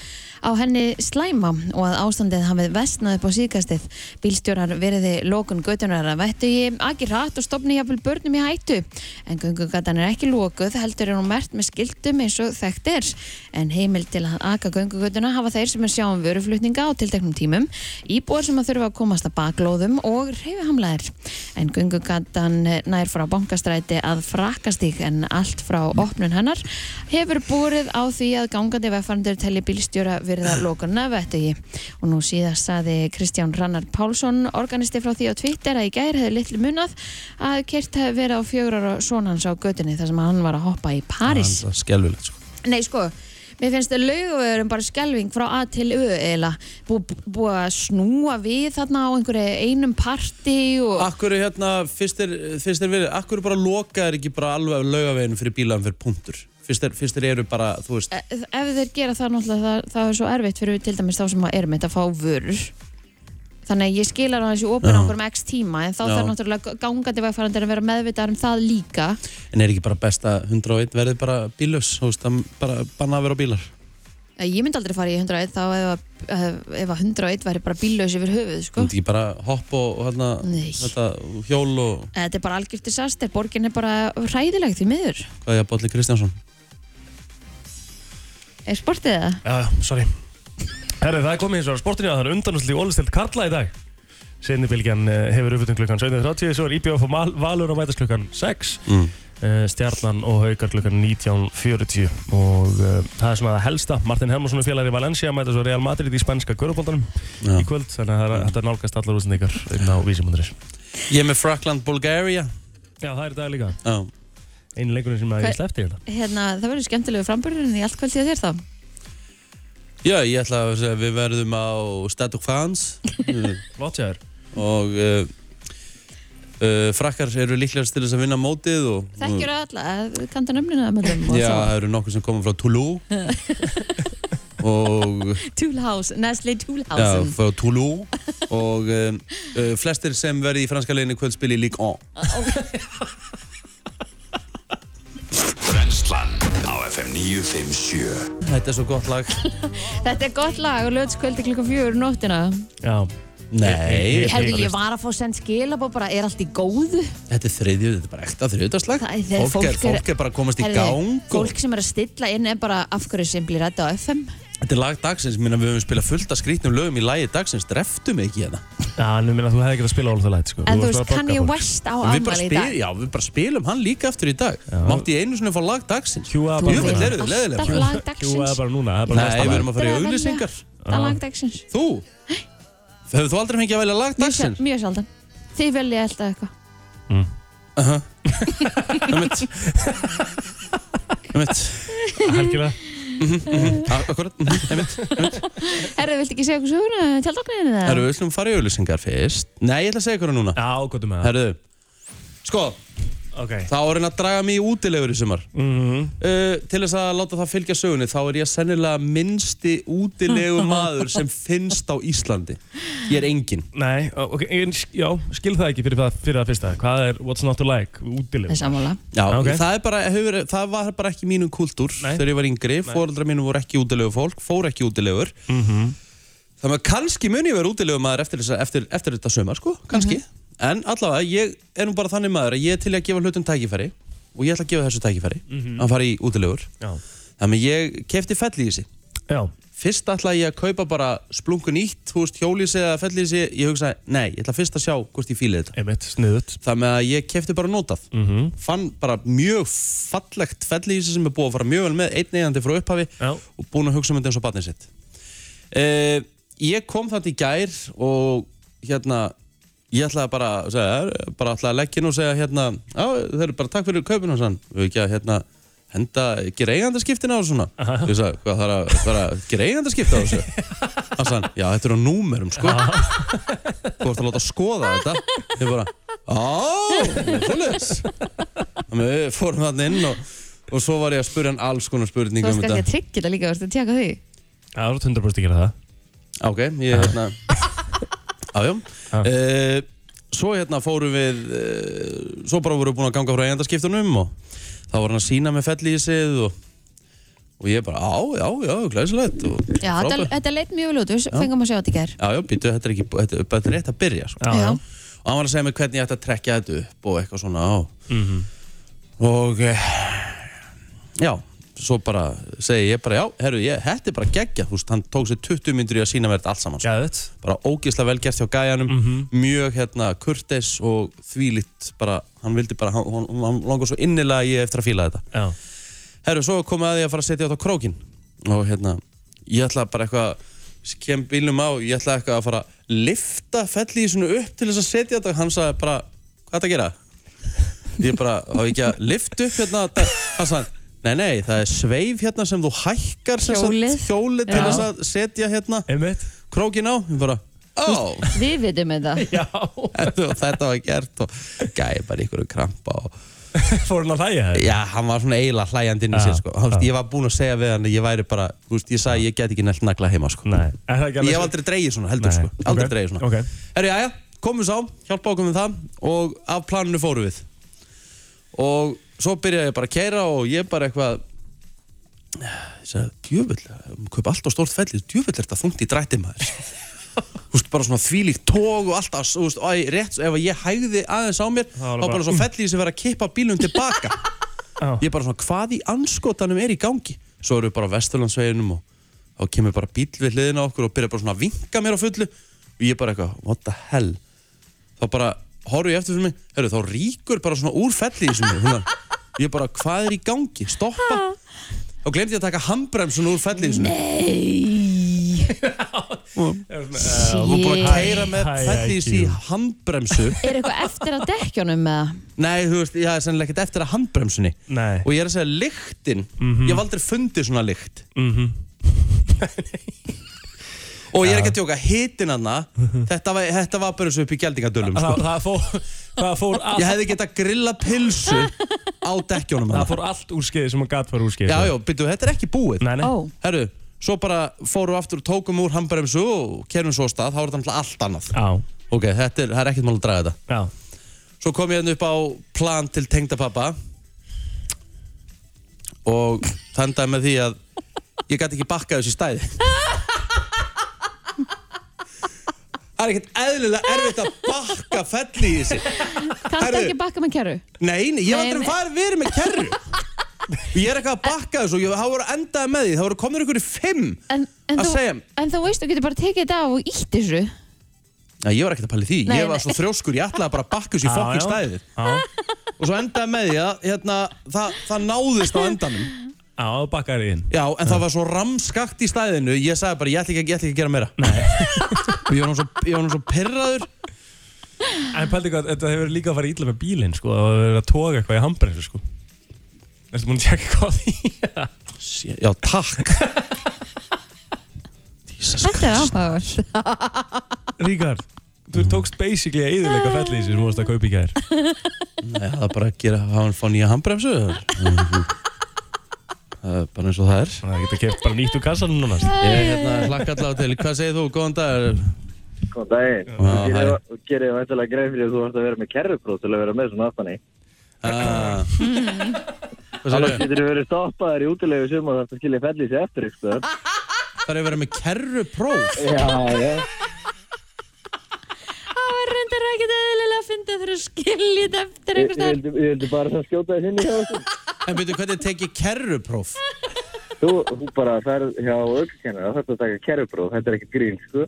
B: á henni slæma og að ástandið hafið vestnað upp á síðkastið. Bílstjórar veriði lokun götunar að vettu ég ekki rætt og stopni jafnvel börnum í hættu. En göngugötan er ekki lokuð, heldur er hún mert með skildum eins og þekkt er. En heimil til að aka göngugötuna hafa þeir sem er sjáum vöruflutninga á tilteknum tímum, íbúar sem að þurfa að komast að baklóðum og reyfihamlaðir. En göngugatan nær frá bankastræti að frakkastík en allt frá opnun hennar hefur búrið á því að gangandi veffarandur telli bílstjóra virða lokuna vettugi. Og nú síðast saði Kristján Rannar Pálsson, organisti frá því á Twitter að í gær hefði litlu munað að kert hefði verið á fjögur ára son hans á götunni þar sem hann var að hoppa í París.
C: Það er skelvilegt, sko.
B: Nei, sko, mér finnst að laugavöðurum bara skelving frá að til ö eða búið bú að snúa við þarna á einhverju einum parti og
C: Akkur er hérna, fyrst er, fyrst er verið, akkur er bara lokaðir ekki bara alveg laugaveginn fyrir bílaðum fyrir punktur. Fyrst er, fyrst er eru bara, þú veist,
B: ef e, ef þeir gera það náttúrulega það, það er svo erfitt fyrir til dæmis þá sem að er með að fá vörur þannig að ég skilar hann þessi opin
C: Já.
B: á einhverjum um x tíma en þá
C: Já.
B: þarf náttúrulega gangandi vegfærandir að vera meðvitaðar um það líka
C: en er ekki bara best að 101 verði bara bílaus, þú veist, það bara banna að vera á bílar.
B: Eh, ég myndi aldrei fara í 101 þá ef, að- eh, ef að 101 væri bara bíllaus yfir höfuð
C: Þú
B: sko.
C: veist ekki bara hopp og, og hérna,
B: Nei.
C: þetta, og hjól og,
B: Eh, þetta er bara algjört disaster, borgin er bara hræðileg því miður,
C: hvað er að Bolli Kristjánsson?
B: er sportið það?
D: Já, sorry Herri, það er komið eins og sportinu að það er undanúsli ólistelt Karla í dag Seinni bylgjan eh, hefur uppvöldum klukkan 17.30 Svo er IBF og Mal- Valur á mætast klukkan 6
C: Mm.
D: eh, Stjarnan og Haukar klukkan 19.40 Og uh, það er svona það helsta Martin Hermansson og félagar í Valencia mætast svo Real Madrid í spænska görubóltanum
C: Já.
D: í kvöld Þannig að það er- þetta er nálgast allar útsendingar inn á vísimunduris
C: Ég er með Frackland, Bulgaria.
D: Já, það er í dag líka
C: Já.
D: Einu leikurinn sem að
B: Hva-
D: ég sleppti hérna
B: Hérna, það verður skemmtilegu framburðurinn í allt kvöld til þér þá
C: Já, ég ætla að segja að við verðum á Stad og Fans
D: Flott sér
C: og uh, uh, frakkar eru líklegast til þess að vinna mótið og
B: Þekkjur alla, eh, kanntu nöfnina með þeim og
C: Já,
B: svo.
C: það eru nokkur sem koma frá Toulouse og
B: Toolhouse, Nestle
C: já,
B: Toolhouse
C: frá Toulouse og um, uh, flestir sem verði í franska leginu kvöldspili lík on
A: Brennslan á FM 957
C: Þetta er svo gott lag
B: Þetta er gott lag og lögskvöldi klukka fjögur um nóttina
D: Já,
C: Nei,
D: Ég-
B: Herðu,
D: ég-
B: ég var að fá send skilabó bara, er allt í góðu?
C: þetta er þriðju, þetta er bara ekta þriðjudagslag
B: Það er
C: fólk,
B: þegar
C: er-
B: fólk er-
C: fólk er bara að komast í
B: Heyrðu,
C: gang og,
B: Fólk sem er að stilla inn er bara af hverju sem blir rætt á FM
C: Þetta er lag dagsins, minna við höfum spilað fullt af skrítnum lögum í lagi dagsins, dreftum ekki hérna
D: Já, en ég meina að þú hefði ekki að spila all the light sko.
B: En þú
D: varst
B: veist,
D: bara að
B: kann ég
D: bögga fólk.
B: West á
C: Við bara,
B: afmæli í
C: spil,
B: dag
C: já, við bara spilum hann líka aftur í dag
D: Já.
C: Mátti ég einu sinni fá lag dagsins
D: Hjúa
B: Þú
D: bara
C: Jú, þetta er-
D: núna
C: eru
B: alltaf
C: leiðileg.
B: lag
D: Hjúa
B: dagsins
D: bara núna það er bara
C: Nei,
D: næsta
C: við
D: lag.
C: erum að fara í
B: Þetta er að velja.
C: auglýsingar
B: Það er lag dagsins
C: Þú? Hefur þú aldrei fengið að velja lag
B: Mjög sjal-
C: dagsins?
B: Mjög sjaldan Þið velja alltaf eitthvað [laughs]
C: Einmitt Einmitt
D: Helgilega
C: A- Akkurat, mhm, einmitt
B: Herðu, viltu ekki segja okkur söguna? Tjaldokninu það?
C: Herru, við ætlum að fara í auglýsingar fyrst Nei, ég ætla að segja ykkur það núna
D: Já, gotum með það
C: Herru, sko
D: Ok.
C: Þá er hann að draga mig í útilegur í sumar uh, Til þess að láta það fylgja sögunni Þá er ég sennilega minnsti útilegu maður sem finnst á Íslandi Ég er engin
D: Nei, ok, en, já, skil það ekki fyrir það, fyrir það fyrsta. Hvað er what's not to like, útileg?
B: Það er sammála.
C: Já,
D: Ok.
C: það, er bara, hefur, það var bara ekki mínum kultúr
D: Nei.
C: þegar ég var yngri, fóreldrar mínum voru ekki útilegu fólk, fóru ekki útilegur mm
D: Mhm.
C: Þannig að kannski mun ég vera útilegu maður eftir, þessa, eftir, eftir þetta sömar, sko, kannski
D: Mhm.
C: En allavega, ég er nú bara þannig maður að ég er til í að gefa hlutum tækifæri og ég ætla að gefa þessu tækifæri mm
D: Mhm.
C: -hmm. að fara í útilegur
D: Já.
C: Þannig að ég kefti fellísi
D: Já.
C: Fyrst ætlaði ég að kaupa bara splungun ítt, húst, hjólísi eða fellísi Ég hugsaði, nei, ég ætla fyrst að sjá hvort ég fíli þetta
D: Einmitt, Mhm. sniðut.
C: Þannig að ég kefti bara notað Fann bara mjög fallegt fellísi sem er búið að fara mjög vel með Einn eigandi frá upphafi
D: Já.
C: Og búin að hugsa um þetta eins og batnið sitt uh, Ég kom þannig í gær Og hérna Ég ætlaði bara að segja, bara ætlaði að leggja inn og segja hérna, já, þeir eru bara takk fyrir kaupinu og sann, við ekki að hérna henda, gera eigandaskiptin á þessu svona ég sagði, hvað þarf að, þarf að gera eigandaskipti á þessu hann sagði, já, þetta eru á númerum, sko þú ert að láta skoða þetta ég bara, á, svoleiðis þannig að við fórum þarna inn og, og svo var ég að spurja hann alls konar um
B: Þú
C: spurningum
B: varst kannski að tryggja það líka, þú varst að tjaka því.
D: Já, þú ert 100% að gera það. Ah.
C: Ok, ég hérna
D: [laughs]
C: Jájá
D: Já.
C: uh, Svo hérna fórum við uh, Svo bara vorum við búin að ganga frá eigandaskiptunum og þá var hann að sína með fellísið og, og ég bara, á, já, já, glæsilegt og
B: Já, þetta,
C: frábært."
B: þetta leit mjög vel út, við fengum að sjá þetta í gær.
C: Já, já, býtu, þetta er ekki, þetta er bara rétt að byrja sko.
D: Já, já.
C: og hann var að segja mér hvernig ég ætti að trekja þetta upp og eitthvað svona á og eh, já, svo bara segi ég bara, já, herru, ég, þetta er bara geggja þú veist, hann tók sér 20 myndur í að sína mér þetta allt saman sko.
D: Gæðut.
C: bara ógeðslega vel gert hjá gæjanum mjög hérna kurteis og þvílitt bara, hann vildi bara, hann, hann, hann langar svo innilega í eftir að fíla þetta
D: Já.
C: herru, svo komið að ég að fara að setja þetta á krókin og hérna, ég ætla bara eitthvað kem bílnum á, ég ætla eitthvað að fara að lifta fellísinu upp til þess að setja þetta og hann sagði bara, hvað er að gera? ég bara, þá ekki að lift upp hérna, þetta?" hann sagði Nei, nei, það er sveif hérna sem þú hækkar sem sagt,
B: Hjólið.
C: hjólið til
B: Já.
C: þess að setja hérna
D: Einmitt.
C: krókin á, ég bara, ó
B: [laughs] Við vitum þetta.
D: [laughs] Já.
C: Þetta- og þetta var gert og gæði bara ykkur krampa og
D: [laughs] Fór hann að hlæja það?
C: já, hann var svona eiginlega hlæjandi inn í
D: Já,
C: sér sko. Þú veist,
D: já.
C: ég var búinn að segja við hann að ég væri bara, þú veist, ég sagði ég get ekki nælt nagla heima sko.
D: Nei. Er það ekki
C: ég hef
D: alveg-
C: aldrei dreigið svona heldur
D: Nei,
C: sko. aldrei
D: ok,
C: dreigið svona
D: ok.
C: Herru, jæja, komum sá, hjálpa okkur með það og af planinu fórum við og svo byrjaði ég bara að keira og ég bara eitthvað ég sagði, djöfull kaup allt á stórt fellið, djöfull er þetta þungt í drætti maður [laughs] Þú veist, bara svona þvílíkt tóg og alltaf, þú veist, æ, rétt, ef að ég hægði aðeins á mér, þá
D: var
C: bara,
D: bara-
C: svo fellið sem verið að kippa bílum tilbaka.
D: Já.
C: ég bara svona, hvað í anskotanum er í gangi? Svo erum við bara á Vesturlandsveginum og þá kemur bara bíl við hliðina á okkur og byrjar bara svona að vinka mér á fullu og ég bara eitthvað, what the hell? Þá bara horfum ég eftir fyrir mig, hörru, þá ríkur bara svona úr fellið sem ég, ég bara, hvað er í gangi? Stoppa. Þá glemdi ég að taka handbremsun úr fellið sem og búin að
B: Shit.
C: keira með
D: uh, Hæ,
C: fellið í
D: IQ.
C: handbremsu
B: Er eitthvað eftir á dekkjónum með það?
C: Nei, þú veist, ég hafði sennilega ekkert eftir að handbremsunni
D: Nei. Mhm.
C: Og ég er að segja, lyktin Ég hef aldrei fundið svona lykt [laughs] Og ég er ekki að tjóka hitin hana þetta, var, þetta var bara svo upp í geldingadölum
D: Mhm.
C: sko.
D: Það, það, fór, það, fór
C: Ég
D: all,
C: hefði getað grilla pilsu Á dekkjónum
D: það
C: hana
D: fór allt úr skeiði sem að gat fara úr skeiði.
C: Já, já, byrju, þetta er ekki búið
D: Nei, nei.
B: Ó,
C: Herru, svo bara fórum við aftur og tókum úr handbremsu og kerum svo af stað, þá er þetta náttúrulega allt annað
D: Já.
C: Ok, þetta er, það er ekkert mál að draga þetta
D: Já.
C: Svo kom ég hérna upp á plan til tengdapappa og þandaði með því að ég gæti ekki bakkað þessu í stæði. Það er ekkert eðlilega erfitt að bakka fell í þessi.
B: kannst
C: Herðu.
B: ekki bakka með kæru?
C: Nei, nei, ég hef
B: Nei,
C: aldrei
B: nei.
C: farið verið með kerru. Ég er eitthvað að bakka þessu og ég- það voru endaði með því. Það voru komin ykkur í fimm.
B: En, en,
C: Að
B: þú,
C: segja.
B: en þú veist, þú getur bara tekið þetta af og ítt þessu.
C: Nei, ég var ekkert að pæli því.
B: Nei,
C: ég var
B: nei.
C: svo þrjóskur, ég ætlaði bara að bakka þessu í
D: Já,
C: fokkin
D: já.
C: stæði.
D: Já.
C: Og svo endaði með því að hérna, það, það náðist á endanum.
D: Já, bakkar í inn.
C: Já, en það var svo ramskakt í stæðinu Ég sagði bara, ég ætla ekki, ég ætla ekki að gera meira [laughs] Og ég var nú svo, ég var nú svo pyrraður
D: En pældi hvað, þetta hefur líka að fara ítla með bílinn sko, og það hefur verið að toga eitthvað í handbremsu sko. Ertu búin að tjekka hvað því?
C: [laughs] Sé- Já,
D: [laughs]
C: takk Jesus
B: Þetta er áhugaður.
D: Ríkard, þú tókst basically að eðilega fellið sem þú varst að kaupa í gær
C: Nei, það er bara að gera, hafa hann fá nýja handbremsu
D: [laughs]
C: Það er bara eins og það er
D: Það geta keft bara nýtt úr kassanum núna
C: Ég hérna hlakka allavega til, hvað segir þú, góðan dag
E: Góðan daginn.
C: Já,
E: Þú gerir-
C: hæ.
E: Þú gerir það væntalega greið fyrir að þú vart að vera með kerrupróf til að vera með svona aftan í.
C: Ah. Hvað
E: Þannig
C: segir þú,
E: getur þú verið stoppaður í útilegu sem og þetta skilja fellið sér eftir sko. ykkur.
C: það er að vera með kerrupróf
E: Já, já.
B: [laughs] Það var reyndar ekki eðlilega að finna þeirra skiljið eftir
E: Ég
B: einhvers
E: ég
B: þar.
E: vildi, ég vildi bara það skjóta þess inn í sko. hjá þessu.
C: [laughs] En byrju, hvernig tekið kerrupróf?
E: Þú, þú bara ferð hjá aukakennara, þetta að taka kerrupróf, þetta er ekkert grín, sko.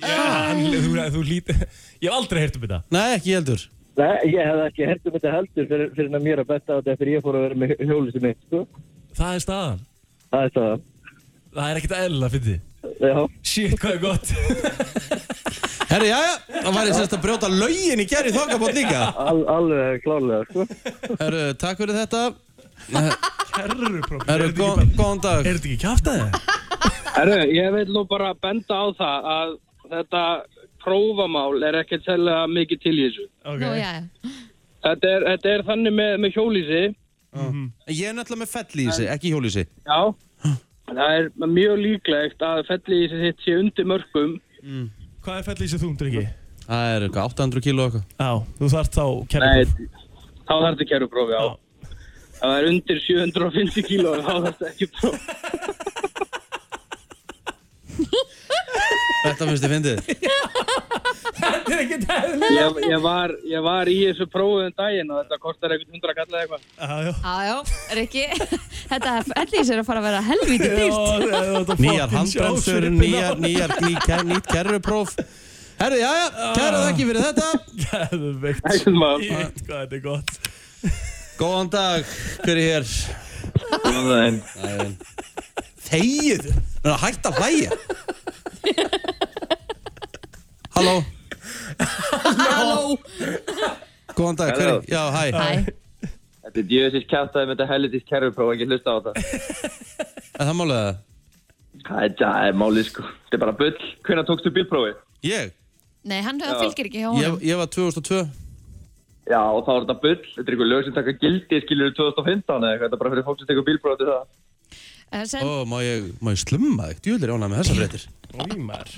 D: Já, hann, þú, þú lítið [laughs] Ég hef aldrei heyrt um þetta
C: Nei, ekki ég heldur
E: Nei, ég hef ekki hert um þetta heldur fyrir, fyrir en að mér að betta á þetta eftir ég fór að vera með hjólusi mitt, sko.
D: Það er staðan
E: Það er staðan.
D: Það er ekkert eðlilega fyrir þið
E: Já,
D: Shit, hvað er
E: [laughs]
D: gott
C: Herri, jæja, það var eins og að brjóta lögin í gerri þokkabótt líka
E: [laughs] al, alveg klálega, sko.
C: Herru, takk fyrir þetta
D: Kerrupróf Er
C: Herru,
D: þetta
C: góð,
D: ekki,
C: góðan dag
D: er þetta ekki kjáft að það?
F: [laughs] Herru, ég vil nú bara benda á það að þetta prófamál er ekkert sérlega mikið til í þessu.
B: Nú, já, já.
F: Þetta er, þetta er þannig með, með hjólísi,
D: Mhm.
C: Ég er náttúrulega með fellísi, ekki hjólísi
F: já. Það er mjög líklegt að fellísi þitt sé undir mörgum.
D: Mm. Hvað er fellið í þessu þungdur ekki?
C: Það er eitthvað 800 kíló eitthvað
D: Já, þú þarft þá
F: Nei,
D: kerrupróf
F: þá þarf þetta keruprófi á. Ef það er undir 750 kíló, þá þarf þetta ekki próf.
C: Þetta finnst þið fyndið
D: Þetta er ekkert eðlilega
F: Ég, ég, var, ég var í þessu prófið um daginn og þetta kostar eitthvað 100 kallið eitthvað.
D: Já, já
B: Já, já, Rikki, [laughs] þetta ellís er að fara að vera helvítið dýrt.
C: Nýjar handbremsur, nýjar, nýjar, ný, ker, nýtt kerrupróf Herru, jæja, kæra þakki fyrir þetta
D: Geðveikt
F: Æsum maður.
D: Shit, hvað þetta er gott
C: Góðan dag, hver er hér? Góðan Þegið, það er hægt að hlæja Halló
B: Halló!
C: Góðan dag, hver er? Já, hæ
B: Hæ,
E: Þetta er djöðsins kjátaði með þetta helitist kerrupróf, ekki hlusta á það.
C: Er það málega það?
E: Það er málið, sko. Þetta er bara bull. Hvernig tókstu bílprófið?
C: Ég?
B: nei, hann hann fylgir ekki hjá
C: Ég,
B: honum.
C: ég var 2002
E: Já, og þá er þetta bull. Þetta er einhver lög sem taka gildi, skilur 2015 eða eitthvað. Þetta er bara fyrir fólk sem tekur bílbróð til það.
B: Eh, Sem,
C: Ó, má ég, má ég slumma þig? Djúlir ánæg með þessar fréttir
D: Rímar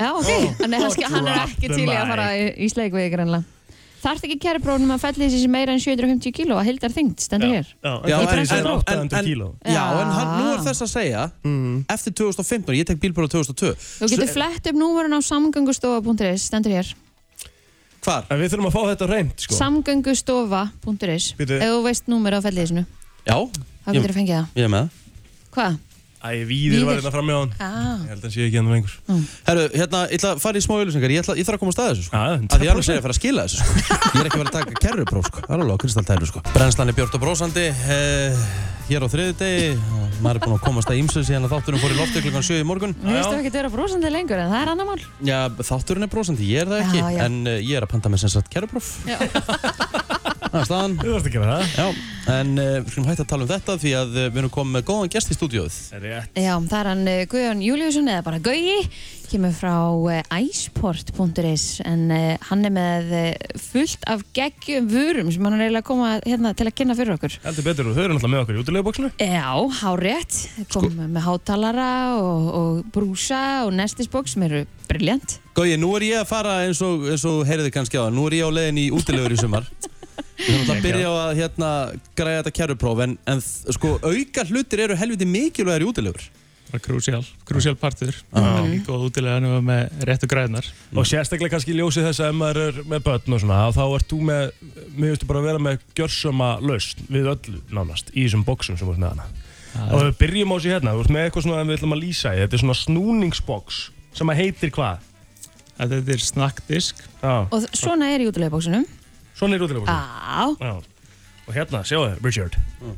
B: já, ok, hann er, hann, hann er
D: drop
B: ekki
D: the
B: til í að fara í, í sleik við ykkur ennlega. Þarf ekki kæruprófnum að fellið þessi meira en 750 kíló að heldar þyngd, stendur hér.
C: Já,
D: en
C: en-
D: það er
C: en-
D: 800
C: en-
D: kíló Mm.
C: Já, en hann, nú er
B: Já.
C: þess að segja Eftir 2015, ég tek bílbróð 2002
B: Þú getur flett upp númurinn á samgöngustofa.is, stendur hér.
C: Hvar?
D: En við þurfum að fá þetta reynd, sko
B: Samgöngustofa.is, ef
D: Bíddu.
B: þú veist númur á fellið þessinu,
C: Já,
B: þá
C: ég,
B: getur þú fengið það.
C: ég er með það
B: Hvað?
D: Æ, víðir
B: Víðir.
D: var
B: Mm.
D: hérna fram með hann
B: Ah.
D: Ég held að hann sé ekki hann lengur
C: Herru, hérna, ég ætla að fara í smá auðlýsingar Ég ætla ég þarf að koma að staða þessu, sko
D: Já, já,
C: Að því annars er ég að fara að skila
D: [laughs]
C: þessu, sko Ég er ekki að fara að taka kerrupróf, sko Það er alveg á kristaltæru, sko Brennslan er björt og brósandi eh, Hér á þriðu degi Maður er búinn að komast að ímsu síðan að þátturinn fór í loftu klukkan 7 í morgun
B: Mér finnst þú ekki vera brósandi lengur, en það er annar mál.
C: Já, þátturinn er brósandi, ég er það ekki
B: Já, já.
C: En eh, ég er að panta með sem sagt kerrupróf
B: Já.
C: [laughs] Það er staðan
D: Þú þarfst að gera það
C: Já, en eh, við skulum hægt að tala um þetta því að eh, við erum komið með góðan gest í stúdíóð.
D: Það er rétt
B: Já, það er hann eh, Guðjón Júliusson eða bara Gauji, kemur frá eh, iceport.is en eh, hann er með eh, fullt af geggjum vörum sem hann er eiginlega að koma hérna, til að kynna fyrir okkur.
D: Heldur betur og þau eru náttúrulega með okkur í útilegubóksinu
B: Já, hárétt,
G: Sko-
B: kom með hátalara og, og brúsa og nestisbók sem eru briljant.
C: Gói, nú er ég að fara eins og, eins og heyriði kannski á það, nú er ég á leiðin í útilegur í
D: [laughs]
C: sumar. Við erum alltaf að byrja á að hérna, græja þetta kærupróf en, en þ- sko, auka hlutir eru helviti mikilvægir í útilegur.
G: bara krúsjál, krúsjál partur ah. ekki góð útilega nema með réttu græðnar
D: Og sérstaklega kannski ljósið þess að ef maður er með börn og svona þá ert þú með, mér veistu bara að vera með gjörsama lausn við öllu nánast í þessum bóksum sem þú ert með hana Og við byrjum á sér hérna, þú ert með eitthvað svona að við ætlum að lýsa í, þetta er svona snúningsboks sem að heitir hvað?
G: að þetta er snakkdisk
D: Já,
B: Og þ- svona Ah. er í útilegubóksunum.
D: svona er útilegubóksinu
B: Já,
D: Já, og hérna, sjáu þið, Richard
C: Mm.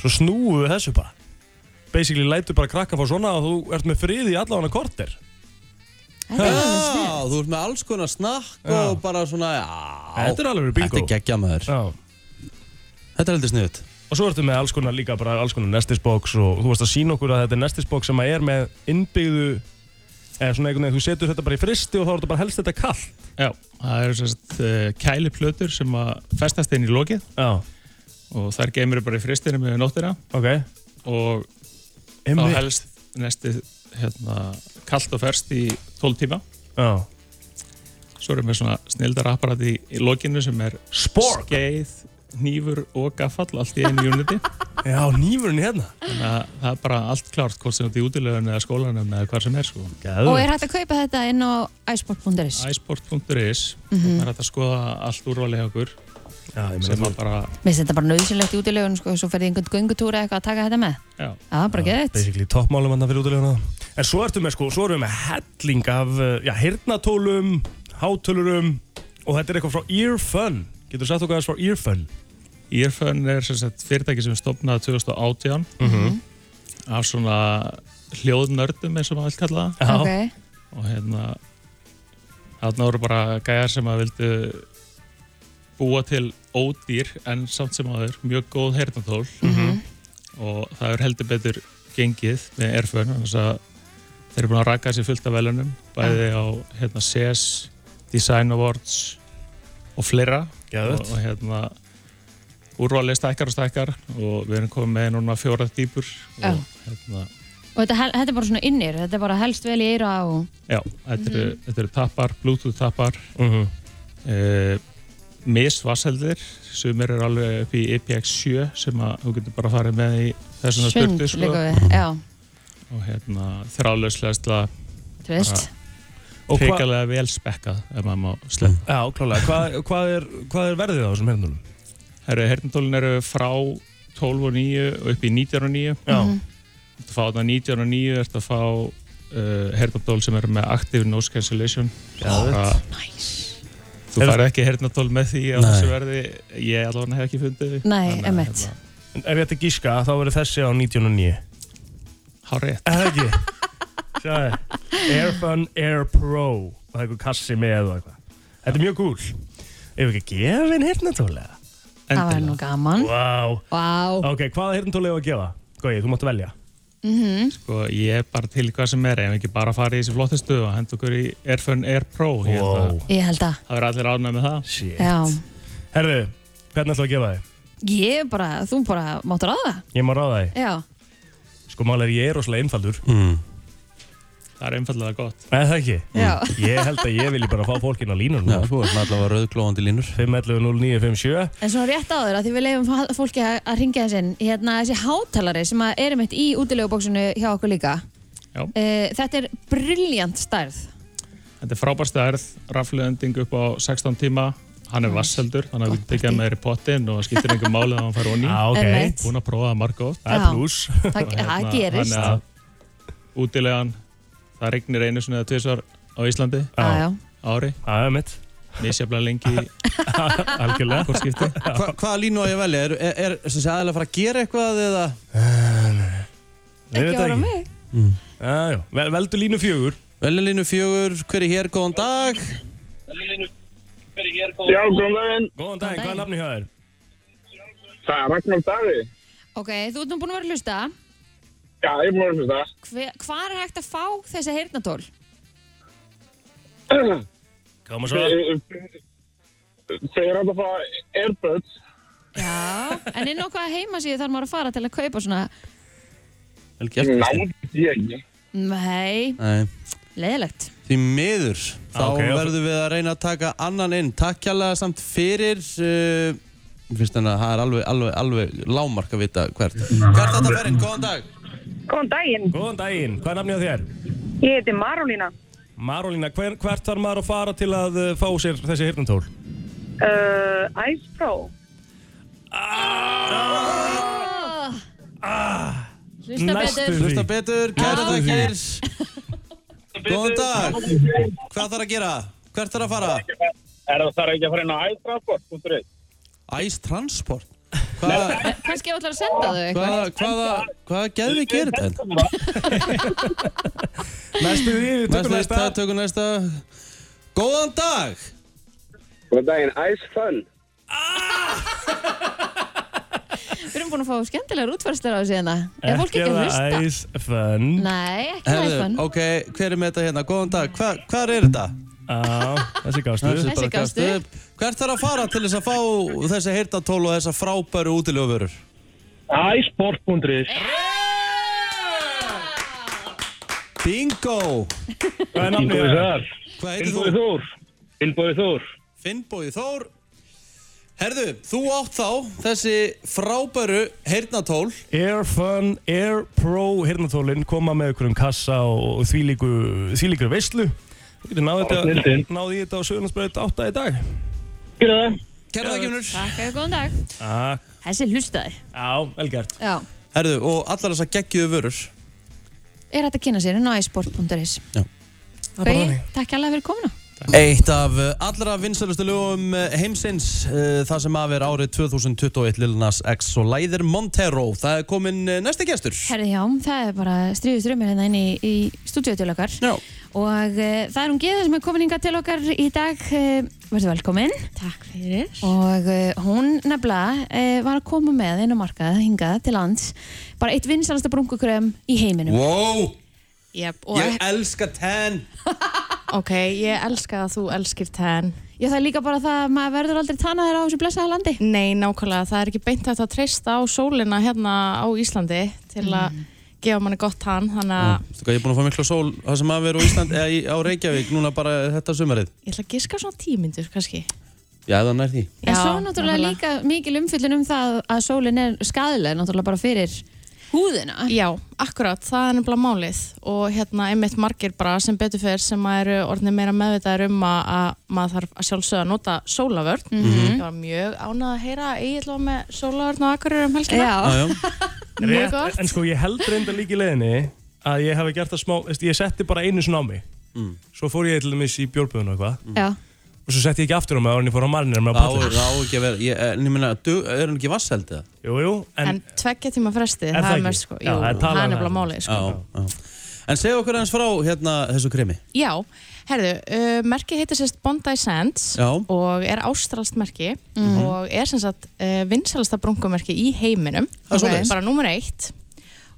D: Svo snúum við þessu bara Basically lætur bara krakka fá svona og þú ert með friði í allavega korter
B: þetta er alveg snið.
C: Já, þú ert með alls konar snakk
D: Já.
C: og bara svona, já.
D: Þetta er alveg bingo
C: Þetta er geggja maður.
D: Já
C: Þetta er heldur sniðut.
D: Og svo ertu með alls konar líka bara alls konar nestisbox og þú varst að sína okkur að þetta er nestisbox sem að er með innbyggðu Eða svona einhvern veginn, þú setur þetta bara í fristi og þá er þetta bara helst þetta kall
G: Já, það eru sérst uh, kæliplötur sem að festast inn í lokið
D: Já.
G: og þar geymir bara í fristinu með nóttina
D: okay.
G: og
D: Einmitt.
G: þá helst næsti hérna, kalt og ferst í 12 tíma
D: Já.
G: Svo erum við svona snildarapparat í, í lokinu sem er
D: Spork.
G: skeið, hnífur og gaffall allt í einu unity
D: [laughs] Já, nýfurinn hérna
G: Þannig að það er bara allt klárt hvort sem þetta er í útilegun eða skólanum eða hvar sem er sko.
B: Og er hægt að kaupa þetta inn á iSport.is?
G: iSport.is mm
B: Mhm.
G: -hmm. er hægt að skoða allt úrvalið hjá okkur
D: Já, ég
G: sem
D: meina
G: að bara,
B: Mér finnst þetta bara nöðsynlegt í útilegun sko, svo ferði einhvern göngutúra eitthvað að taka þetta með.
G: já,
B: Já, bara gett.
D: basically toppmálum hann fyrir útileguna en svo ertu með sko, svo erum við með helling af uh, já, hirnatólum, hátölurum og þetta er eitthvað frá Earfun getur þú sagt okkur aðeins frá Earfun
G: Earphone er sem sagt fyrirtæki sem stopnaði 2018
H: Mhm.
G: af svona hljóðnördum eins og maður vil kalla það
B: Ok.
G: og hérna þarna voru bara gæjar sem að vildu búa til ódýr en samt sem aður mjög góð heyrnatól og það er heldur betur gengið með erfun þannig að þeir eru búin að raka sér fullt af velunum bæði á hérna, CS, Design Awards og fleira og,
D: Geðveikt.
G: og hérna úrvalið stækkar og stækkar og við erum komið með núna fjóra dýpur
B: Já.
G: og hérna
B: Og þetta, hel- þetta er bara svona innir, þetta er bara helst vel í eira og...
G: Já, þetta eru, þetta eru tappar, bluetooth tappar
D: mm -hmm.
G: uh, misvasseldir sem eru alveg upp í IPX7 sem að þú getur bara farið með í þessuna
B: Svöng,
G: styrtu sko,
B: liggur við. Já,
G: og hérna, þrálauslega
B: þú veist.
D: og hva,
G: hrikalega vel spekkað ef maður má slepp
D: já, klálega, hvað hva er, hva er verðið á þessum hirnatólum?
G: Herru, herndólin eru frá 12 og 9 og upp í 19 og 9
D: Já,
G: Þetta fá þetta 19 og 9 Þetta fá uh, herndól sem eru með active noise cancellation
D: já,
B: Næs.
G: Þú
D: Er-
G: farið ekki herndól með því að
D: Nei.
G: þessu verði Ég allavega hef ekki fundið því.
B: Nei,
G: Þannig að,
B: emmett.
G: hérna,
D: ef ég ætti að gíska þá verður þessi á 99
G: Hárið
D: Er það ekki? Sjáðu, Airfun Air Pro og það er eitthvað kassi með og eitthvað Þetta er mjög gúl Ef ekki að gefa henn hirnatólega
B: Það var nú gaman.
D: Vá wow.
B: Vá.
D: Ok, hvaða hirnatólega á að gefa? Gói, þú máttu velja
B: Mhm.
G: Sko, ég er bara til í hvað sem er, ef ekki bara farið í þessi flottistu og hend okkur í Airfun Air Pro. Ég held að
D: Wow,
B: Ég held að.
G: Það verður allir ánægð með það.
D: shit
B: Já.
D: Herðu, hvernig ætlaðu að gefa þið?
B: Ég bara, þú bara máttur að það.
D: Ég má ráða þið
B: Já.
D: Sko, mál er ég er rosalega einfaldur
G: Það er einfallega gott.
D: Nei, það ekki Mm.
B: Já.
D: Ég held að ég vilji bara fá fólkin á línunum
C: Já, þú erum allavega rauðglóðandi línur
D: 511-0957
B: En svona rétt áður að því við leifum fa- fólki að að ringja þess inn, hérna þessi hátalari sem að erum eitt í útilegubóksinu hjá okkur líka,
G: Já.
B: e, þetta er briljant stærð.
G: Þetta er frábær stærð, rafluending upp á 16 tíma, hann er vasseldur, þannig að við tekja með þér í pottin og það skiptir einhver máli að hann fær
D: [laughs]
G: onni.
D: Já, Ah, ok
B: Einmitt.
G: Búin að prófa það margótt.
D: Það
B: Já.
D: er pluss
B: Það, það gerist.
G: Þannig að útilegan, það regnir einu sinni eða tvisvar á Íslandi
B: Já, Ah, já.
G: ári,
D: Það er Ah, mitt
G: misjaflega lengi í
D: Algjörlega
G: hvort skipti.
C: Hva, Hvaða línu á ég að velja? Er, er, er sem sé, aðeins að fara að gera eitthvað eða
D: Ég veit
B: Ekki
D: það
B: ára mig.
D: Já, já. Vel, veldu línu fjögur.
C: velja línu fjögur, hver er hér, góðan dag
F: Já, góðan daginn.
D: Góðan daginn,
B: daginn.
D: hvað er nafni hjá þér?
F: Það er Ragnar Davi.
B: Ok, þú ert nú búin að vera að hlusta.
F: Já, ég er búin að fyrsta.
B: Hve, hvar er hægt að fá þessi heyrnatól?
D: Koma svo.
F: Eh, Þegar er hægt eh, að fá Airbuds.
B: Já, en inn á hvaða heimasíðu þarf maður að fara til að kaupa svona,
C: Vel gert Kristín.
F: Náði ég ekki.
B: Mm, nei,
C: Nei,
B: leiðilegt.
C: Því miður, þá
D: Ah, ok, já.
C: verðum við að reyna að taka annan inn Takk kjærlega samt fyrir uh, Mér finnst þannig að það er alveg, alveg, alveg lámark að vita hvert Hvert þetta fer inn, góðan dag
I: Góðan daginn,
D: Góðan daginn, hvað er nafni hjá þér?
I: ég heiti Marolína.
D: Marolína, hver, hvert þarf maður að fara til að uh, fá sér þessi hirnatól?
I: Uh, Ice Pro.
B: Hlusta
D: Næstu.
B: betur.
C: Hlusta betur, kæra
B: Já.
C: takkir Góðan dag Hvað þarf að gera? Hvert þarf að fara?
F: Er það þarf ekki að fara inn á iTransport.is?
C: Ice Transport Hvað,
B: Eh, Kannski ég ætlar að senda þau eitthvað.
C: hvað, hvaða, hvaða geðvi gerir
F: [laughs]
C: þetta?
D: Næstu því, við tökum
C: Næsta,
D: næsta.
C: næsta, tökum næsta Góðan dag
F: Góðan daginn, Ice Fun.
B: Við erum erum búin að fá skemmtilegar útfærslar á þessu hérna. Er fólk ekki að hlusta?
D: Ekki það fun
B: Nei, ekki
C: Herðu,
B: Herðu, iPhone.
C: ok, hver er með þetta hérna? Góðan dag, Hva, hvað er þetta?
D: Á, þessi gafstu
C: Þessi
B: Þessi
C: bara
B: gafst
C: gafst upp. Hvert þarf að fara til þess að fá þessi heyrtatól og þessa frábæru útileguvörur?
J: Æsport.is
C: Bingo!
D: Hvað er nafnið
J: Finnbói
D: það?
J: Þór
C: Hvað heitir
J: Finnbói
C: þú?
J: Þór Finnbói Þór
C: Finnbói Þór Herðu, þú átt þá þessi frábæru heyrnatól
D: Air Fun, Air Pro hirnatólinn koma með ykkur um kassa og og þvílíku, þvílíkur veislu Þú getur náði þetta,
J: snilldin.
D: náði þetta á Söðurlandsbreyt 8 í dag
J: Gerðu það
C: Kæra þakkjumnur
B: Takk og góðan dag.
D: Á,
B: Þessi hlustaði.
D: á vel gert
B: Já.
C: Herðu, og allar þess að geggjuðu vörur
B: Er hægt að kynna sér inn á isport.is.
C: Já.
B: Gauji, takk alveg fyrir komuna.
C: Eitt af uh, allra vinsælustu lögum uh, heimsins uh, Það sem af er árið 2021 Lil Nas X og Læðir Montero Það er komin uh, næsti gestur
B: Herði já, það er bara stríðust rumir hérna inn í, í stúdíu til okkar.
C: Já,
B: Og uh, það er hún Geða sem er komin hingað til okkar í dag. Uh, Verðu velkomin.
H: Takk fyrir.
B: Og uh, hún nefnilega uh, var að koma með inn á markað hingað til lands. Bara eitt vinsalasta brunkukröðum í heiminum.
C: wow,
H: Yep, og,
C: ég elska ten
H: Ok, ég elska að þú elskir ten.
B: Já, það er líka bara það að maður verður aldrei tannaðir á þessu blessaða landi.
H: Nei, nákvæmlega, það er ekki beint hægt að treysta á sólina hérna á Íslandi til að
B: Mhm.
H: gefa manni gott tann, þannig að
B: Mm.
C: Veistu hvað, Ég er búin að fá mikla sól Það sem af er á Ísland eða í- á Reykjavík Núna bara þetta sumarið
H: ég ætla að giska á svona tímyndur kannski.
C: Já, það nær því
B: En svo náttúrulega líka mikil umfyllin um það að sólin er skadileg náttúrulega bara fyrir húðina.
H: Já, akkurat, það er nefnilega málið og hérna einmitt margir bara sem betur fyrir sem að eru orðinir meira meðvitaðir um að, að maður þarf að sjálfsögða að nota sólavörn.
B: Mhm.
H: Ég var mjög ánað að heyra að ég ætla með sólavörn og akkurir um helgina.
C: Já, já.
H: Mjög
D: Rétt,
H: gott.
D: En sko ég held reynda líka í leiðinni að ég hef gert það smá, veist, ég setti bara einu svona á mig
C: Mm.
D: Svo fór ég til dæmis í bjórböðun og eitthvað
B: Já.
D: Og svo setti ég ekki aftur á mig ára en ég fór á marnir með að
C: Á,
D: palla
C: á ekki að vera, ég, eh, en ég meina, dug- er hann ekki vasseld eða?
D: Jú, jú,
H: En,
D: en,
H: tveggja tíma fresti,
D: Er
H: það
D: það
H: er
D: ekki?
H: mest sko,
D: Já,
H: jú,
D: það er talað
H: það er
D: um
H: nefnilega
D: það.
H: málið sko.
C: Já, já. En segja okkur eins frá hérna þessu kremi.
H: Já, herðu, uh, merkið heitir sérst Bondi Sands
C: Já.
H: og er ástralst merki
D: Mhm.
H: og er sem sagt uh, vinsalasta brunkumerki í heiminum,
C: Það er svoleiðis.
H: bara númer eitt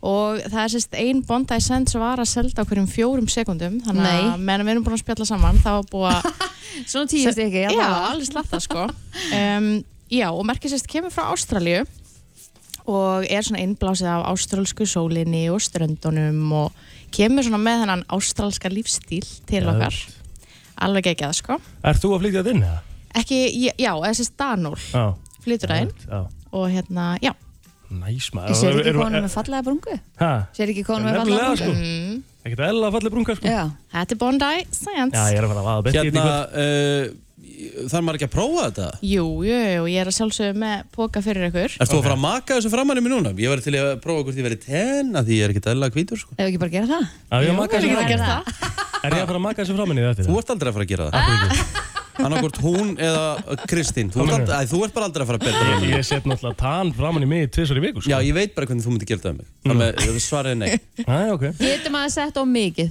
H: og það er sérst ein Bondi Sands var að selda á hverjum fjórum sekundum þannig
B: Nei.
H: að meðan við erum búin að spjalla saman það var búið að
B: [laughs] Svona tíu stykki.
H: Já, alveg slatta sko
B: [laughs]
H: um, Já, og merkið sérst kemur frá Ástralíu og er svona innblásið af ástralsku sólinni og ströndunum og kemur svona með þennan ástralska lífstíl til
D: Já,
H: okkar alveg ekki að sko
D: ert þú að flytja þetta inn eða?
H: ekki, ég- já, eða sérst Danúl
D: Já
H: flytur það inn
D: Já,
H: og hérna, já
D: næs maður
B: Ég sér
D: Erum-
B: ekki
D: erum-
B: konum með fallega brungu.
D: Ha?
B: Sér ekki konum með fallega brungu.
D: Nefnilega sko
H: mm,
D: Ekkert eðla falli brungar sko
B: Já.
H: Þetta er Bondi Science
D: Já, ég er að fara að vaða betti
C: Hérna, uh, þarf maður ekki að prófa þetta?
H: Jú, jú, jú, ég er að sjálfsögðu með póka fyrir ykkur
C: Erst þú að fara að maka þessu framann í mig núna? Ég var til í að prófa hvort ég verið ten að því ég er ekkert eðla hvítur sko.
B: Ef ekki bara gera það.
D: Já, ég að maka þessu
H: Ég
D: framinni
H: gert það
D: Er ég að fara að maka þessu framinni þetta?
C: Þú ert aldrei að fara að gera [laughs] það. Annarkvort hún eða eh, Kristín. Þú, ert
D: meinar
C: aldrei- æ, þú ert bara aldrei að fara að berða
D: Ég,
C: mig.
D: ég set náttúrulega tann framann í mig tvisar í viku sko. Mm.
C: Já, ég veit bara hvernig þú myndir gera það um mig. Þannig að svarið er nei.
D: [laughs] Æ, ok
B: Getur maður sett á mikið.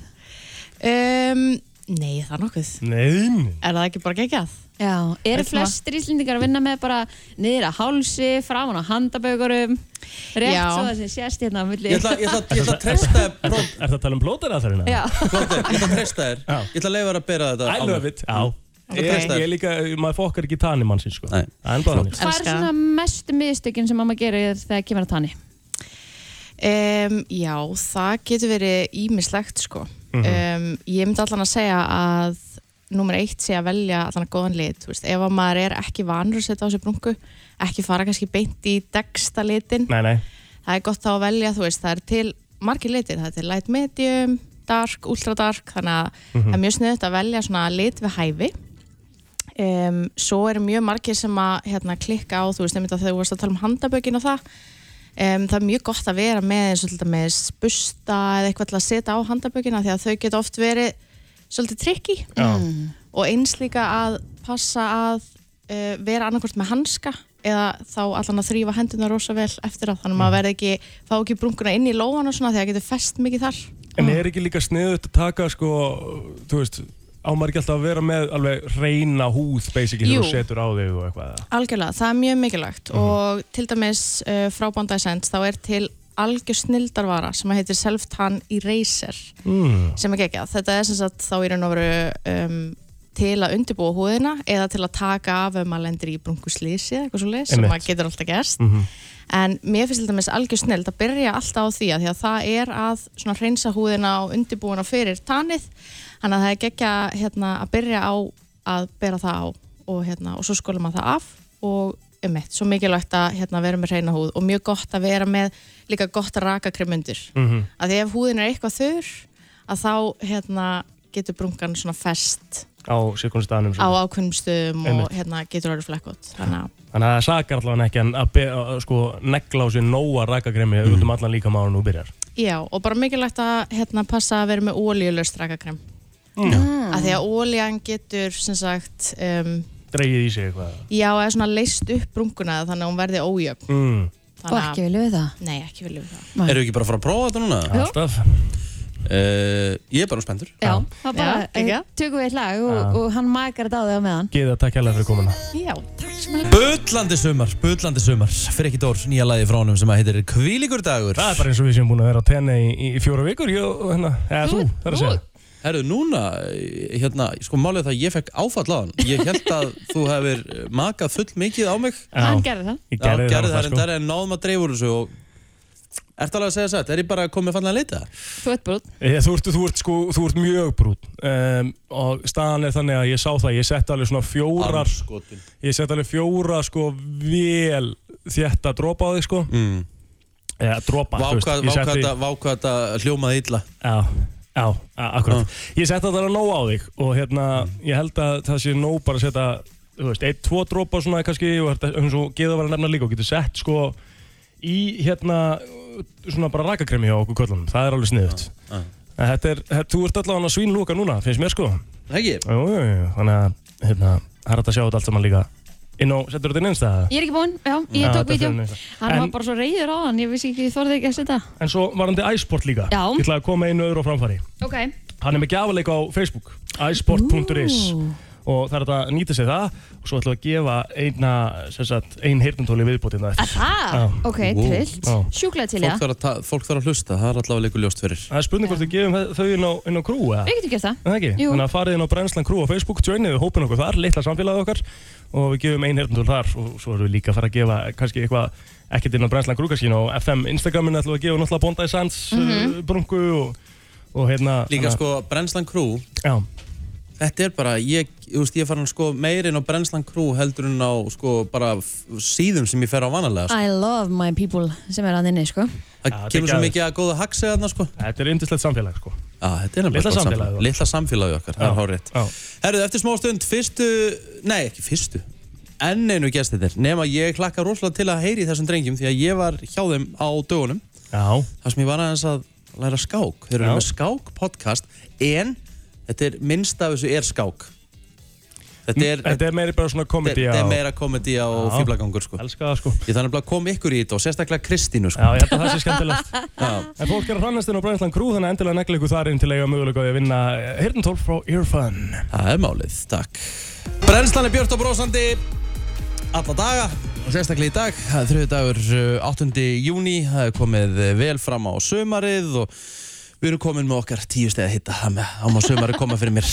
H: um, Nei, það er nokkuð
D: Nein
H: Er það ekki bara geggjað?
B: Já. Eru
H: Veit maður.
B: flestir íslendingar að vinna með bara niður að hálsi, framan á handabögurum, rétt
H: Já.
B: svo það sem sést hérna á milli.
C: Ég ætla, ég ætla, ég ætla að treysta þér, próf,
D: Er það að tala um blótar að það hérna?
B: [laughs] Já.
C: Blóter, ég ætla að treysta þér.
D: Já.
C: Ég ætla að leifa þér að bera þetta
D: I
C: á
D: love
C: mig.
D: it Já Ég,
C: treysta þér.
D: ég líka, maður fokkar ekki tanni mannsins sko
C: Nei.
D: Það er bara
C: Flott.
D: þannig
B: Hvað er
H: Elska.
B: svona mestu miðstökin sem mamma gerir þegar kemur að tanni?
H: Um, já, það getur verið ímislegt sko.
D: Mhm.
H: um, ég myndi allan að segja að nummer eitt sé að velja allan að góðan lit þú veist, ef að maður er ekki vanur að setja á sig brungu ekki fara kannski beint í degsta litin,
D: Nei, nei
H: það er gott þá að velja þú veist, það er til margir litir það er til light medium, dark, ultra dark þannig að það er mjög sniðut að velja svona lit við hæfi um, svo eru mjög margir sem að hérna, klikka á, þú veist, einmitt að þegar þú varst að tala um handabökin og það um, það er mjög gott að vera með eins og með spusta eða eitthvað til að setja á handabökina því að þau geta oft verið svolítið trikki og eins líka að passa að uh, vera annarkvort með hanska eða þá allan að þrýfa hendina rosa vel eftir að þannig að maður verði ekki fá ekki brunguna inn í lóan og svona því að það getur fest mikið þar
D: En er ekki líka sniðut að taka sko, þú veist, á maður ekki alltaf að vera með alveg reyna húð basically þegar
H: Jú.
D: þú setur á þig og eitthvað eða?
H: Algjörlega, það er mjög mikilvægt og til dæmis uh, frá Bondi Essence þá er til algjör snildarvara sem heitir Self-Tan Eraser
D: Hmm,
K: Mm.
H: sem er geggjað. Þetta er sem sagt þá í raun og veru um, til að undirbúa húðina eða til að taka af ef maður lendir í brunkuslýsi eða eitthvað svo leið sem
K: Einmitt.
H: maður getur alltaf gerst. En mér finnst til dæmis algjör snild að byrja alltaf á því að, því að það er að svona hreinsa húðina og undirbúina fyrir tanið þannig að það er geggja hérna, að byrja á að bera það á og, hérna, og svo skolum maður það af og um eitt, svo mikilvægt að hérna, vera með hreina húð og mjög gott að vera með líka gott rakakrim undir
L: Mm.
K: Mhm.
H: að því ef húðin er eitthvað þurr að þá hérna, getur brungan svona fest
D: á sko. sérkonstanum
H: á ákveðnum stöðum
D: Einmitt.
H: og hérna, getur orðið flekkot þannig að
D: Þannig að það sakar allavega ekki en að, be, að sko, negla á sér nóa rækagremi út um allan líka mánu og byrjar.
H: Já, og bara mikilvægt að hérna, passa að vera með ólíulegst rakakrem.
D: Mm.
H: Af því að ólían getur, sem sagt, um,
D: Dreigið í sig eitthvað.
H: já, eða svona leist upp brunguna þannig að hún verði ójöfn.
D: Mm.
H: Þannig að-
B: Og ekki vilja við það.
H: Nei, ekki vilja við það.
C: Erum við ekki bara að fara að prófa þetta núna? Eh,
B: Jú.
D: Alltaf.
C: ég er bara spendur.
B: Já, það bara
H: Já, geggjað.
B: eh, tökum við eitt lag og,
C: Já.
B: og hann makar þetta á þig á meðan.
D: Gíða, takk hérlega fyrir komuna.
H: Já, takk sem að
C: Bullandi sumar, bullandi sumar Fyrir ekki dór, nýja lagi frá honum sem að heitir Kvílíkur dagur
D: Það er bara eins og við sem búin að vera á tenni í, í fjóra vikur, ég og hérna, eða þú, það er að segja.
C: Herru, núna, hérna, sko málið er það að ég fekk áfall á hann Ég held að þú hefur makað full mikið á mig
D: Já. Hann
B: gerði það.
D: Ég
C: Já, gerði
D: gerði það
C: það,
D: alveg,
C: það,
D: sko.
C: það en náðum að dreifa úr þessu og Ertu alveg að segja satt, er ég bara komið fallega að leita?
B: Þú ert brútt
D: Ég, þú, ert, þú, ert, sko, þú ert mjög brún um, og staðan er þannig að ég sá það ég sett alveg svona fjórar
C: Armskotin.
D: ég sett alveg fjóra sko vel þetta dropa á þig sko
C: mm.
D: eða dropa þú veist,
C: Vákvað
D: ég setti-
C: þetta hljómaði illa
D: Já, já, a-
C: Mm.
D: akkurat Ég setti þetta alveg nóg á þig og hérna, ég held að það sé nóg bara að setja þú veist, eitt, tvo dropa svona kannski og þetta, eins og geða var að nefna líka og getur sett sko í hérna svona bara rakakremi hjá okkur köllunum það er alveg sniðut
C: já.
D: Þetta er, þetta, þú ert allavega svínlúka núna, finnst mér sko
C: Ekki?
D: Jú, jú, jú, þannig að hérna, það er hægt að sjá þetta allt saman líka Inn á, settur þetta inn einstæða?
B: Ég er ekki búinn, já, ég tók
D: Já, þetta er
B: vídeo.
D: fyrir neðan.
B: Hann
D: En-
B: var bara svo reyður á hann, ég vissi ekki, ég þorði ekki að setja.
D: En svo varandi æsport líka
B: Já.
D: Ég ætlaði að koma einu öðru á framfæri
B: Ok.
D: Hann er með gjafaleik á Facebook isport.is og það er þetta að nýta sér það og svo ætlum við að gefa eina sem sagt, ein heyrnumtóli viðbótina
B: Aha, ok, trillt. Sjúklega til, já.
C: Fólk þarf að- Fólk þarf að hlusta, það er allavega leikur ljóst fyrir
D: Það er spurning hvort við gefum þau inn á, inn á krú eða?
B: Við getum gert það.
D: Er Það ekki,
B: Jú.
D: þannig að farið inn á Brennslan Crew á Facebook, joinið við hópin okkur þar, litla samfélagið okkar og við gefum ein hérntúl þar og svo erum við líka að fara að gefa kannski eitthvað ekkert inn á Brennslan Crew kannski en á FM Instagraminu ætlum við að gefa náttúrulega Bondi Sands mm
C: Mhm.
D: brungu og, og hérna
C: Líka
D: þannig að-
C: sko Brennslan Crew
D: Já.
C: Þetta er bara, ég, þú veist, ég er farin að sko meirinn á Brennslan Crew heldur en á sko bara f- síðum sem ég fer á vanalega sko.
B: I love my people sem er að inni, sko.
C: Það
D: þetta er
C: kemur svo
D: geðveikt.
C: mikið að góða haxið þarna sko
D: Þetta er yndislegt samfélag sko
C: Já, þetta er nefnilega
D: Litla
C: gott
D: samfélagið okkar.
C: Litla samfélagið okkar, það
D: Já,
C: er hárétt Herruð, eftir smá stund, fyrstu, nei ekki fyrstu Enn einu gestir nema ég klakka rosalega til að heyri þessum drengjum því að ég var hjá þeim á dögunum
D: Já
C: Það sem ég var aðeins að læra skák Þeir eru
D: Já.
C: með skák podcast en þetta er minnst af þessu er skák Þetta er,
D: Þetta er meiri bara svona komedi
C: Þetta
D: á-
C: er meira komedi á
D: Já.
C: fýblagangur sko
D: Elskar það sko
C: Ég þannig að koma ykkur í þetta og sérstaklega Kristínu sko
D: Já, ég held að það sé skemmtilegt
C: Já.
D: En fólk er að hrannast inn á Brænslan Crew þannig að endilega negla ykkur þar inn til að eiga mögulega á því að vinna hirntól frá Earfun
C: Það er málið, takk Brennslan er björt og brósandi alla daga og sérstaklega í dag það er þriðu dagur uh, 8. júni það er komið uh, vel fram á sömarið og við erum komin með okkar tíu stegi að hitta það með á maður sömarið koma fyrir mér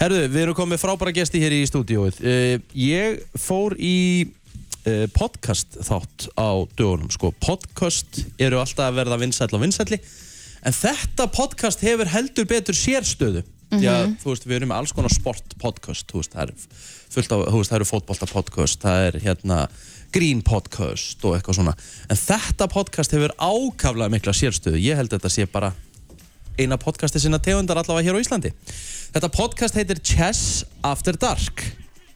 C: Herðu, við erum komið frábæra gesti hér í stúdíóið uh, Ég fór í uh, podcast þátt á dögunum sko, podcast eru alltaf að verða vinsæll og vinsælli en þetta podcast hefur heldur betur sérstöðu mm Já,
A: Mhm.
C: þú veist, við erum með alls konar sportpodcast, þú veist, það er fullt af, þú veist, það eru fótboltapodcast, það er hérna grín podcast og eitthvað svona. En þetta podcast hefur ákaflega mikla sérstöðu, ég held að þetta sé bara eina podcasti sinna tegundar allavega hér á Íslandi. Þetta podcast heitir Chess After Dark.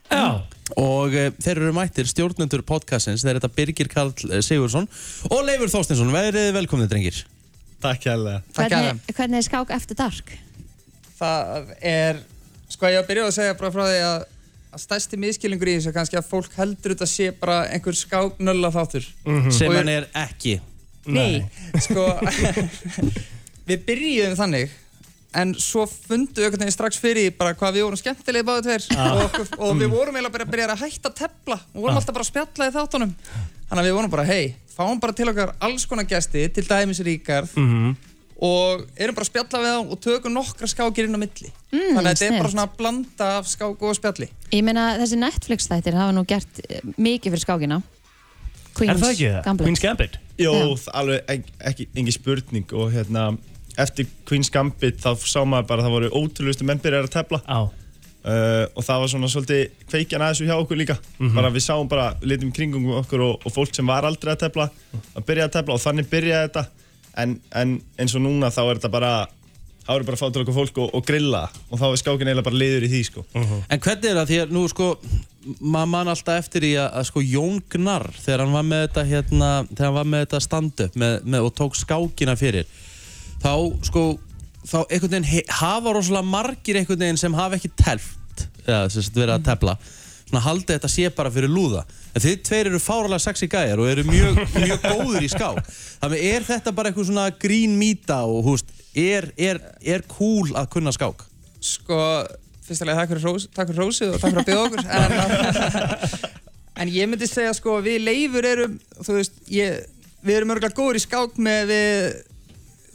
D: Já.
C: Og e, þeir eru mættir stjórnendur podcastins, þeir eru þetta Birgir Karl eh, Sigurðsson og Leifur Þorstinsson. Verið velkomnið, drengir.
M: Takk hérlega.
B: Hvernig, hvernig er skák eftir dark?
M: Það er, sko ég var að byrja á að segja bara frá því að, að stærsti miðskilingur í þessu er kannski að fólk heldur þetta sé bara einhver skáknölla þáttur.
C: Mhm. Sem
M: Og-
C: hann er ekki.
M: [laughs] Sko, við byrjuðum þannig en svo fundu einhvern veginn strax fyrir því bara hvað við vorum skemmtilegi báðu tveir
K: Ah.
M: og, okkur,
C: Mm.
M: og við vorum eiginlega bara að byrja að hætta að tefla og vorum
K: Ah.
M: alltaf bara að spjalla í þáttunum þannig að við vorum bara, hei, fáum bara til okkar alls konar gesti, til dæmis Ríkard
D: Mhm.
M: og erum bara að spjalla við þá og tökum nokkra skákir inn á milli
B: Mm,
M: þannig að þetta er
B: snillt.
M: bara svona að blanda af skák og spjalli
B: Ég meina þessi Netflix þættir hafa nú gert eh, mikið fyrir skákina Queens Gambit.
D: Gambit?
N: Jó,
B: Já.
N: það alveg ekki, ekki engin spurning og hérna eftir Queen's Gambit þá sá maður bara að það voru ótrúlustu menn byrjar að tefla Eh,
D: uh,
N: og það var svona svolítið kveikjan að þessu hjá okkur líka
D: Mhm.
N: bara við sáum bara, litum kringum okkur og, og fólk sem var aldrei að tefla að byrja að tefla og þannig byrjaði þetta en, en eins og núna þá er þetta bara þá eru bara að fá til okkur fólk og, og grilla og þá er skákin eiginlega bara liður í því sko
C: En hvernig er það því að nú sko maður man alltaf eftir í að, að sko Jón Gnar þegar hann var með þetta hérna, þegar hann var með þetta stand-up með, með, og tók skákina fyrir þá sko þá einhvern veginn he- hafa rosalega margir einhvern veginn sem hafa ekki telt eða sem sagt verið að tefla svona haldið þetta sé bara fyrir lúða en þið tveir eru fáralega sexy gæjar og eru mjög, mjög góður í skák þannig er þetta bara eitthvað svona grín mýta og húst, er, er, er cool að kunna skák?
M: sko, fyrst að leiða takk fyrir hrós- takk fyrir rósið og takk fyrir að byggja okkur en, [laughs] en ég myndi segja sko við leifur erum þú veist, ég, við erum örgulega góður í skák með við,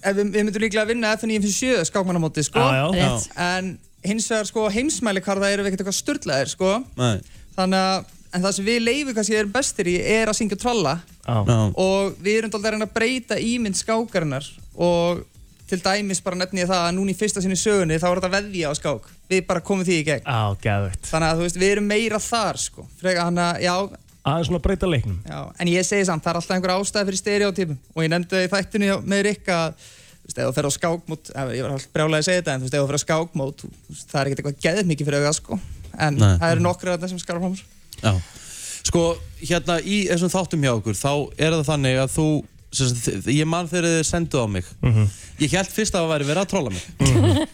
M: ef við, við myndum líklega að vinna FNÍF7 skákmannamóti sko
K: Já, já. Rétt.
M: en hins vegar sko heimsmælikarða erum við ekkert eitthvað störlaðir sko
C: Nei.
M: þannig að En það sem við leifum kannski erum bestir í er að syngja og tralla
D: Mm.
C: Já.
M: og við erum alltaf að reyna að breyta ímynd skákarinnar og til dæmis bara nefni ég það að núna í fyrsta sinni í sögunni þá var þetta veðja á skák við bara komum því í gegn
D: Á, gæðvögt
M: þannig að þú veist, við erum meira þar sko frekar hann að, já,
D: Aðeins svona að breyta leiknum
M: já en ég segi samt, það er alltaf einhver ástæð fyrir stereotypum og ég nefndi það í þættinu hjá- með Rikka að þú veist, ef þú fer á skákmót, eh, ég var alltaf brjálega að segja þetta en þú veist, ef þú fer á skákmót, þú veist, það er ekkert eitthvað geðið mikið fyrir auðvitað sko en
C: Nei.
M: það eru nokkru af þessum skákmómur
C: Já. Sko, hérna í þessum þáttum hjá okkur, þá er það þannig að þú, sem sagt, þi- ég man þegar þið senduð á mig. Ég held fyrst að það væri verið að trolla mig.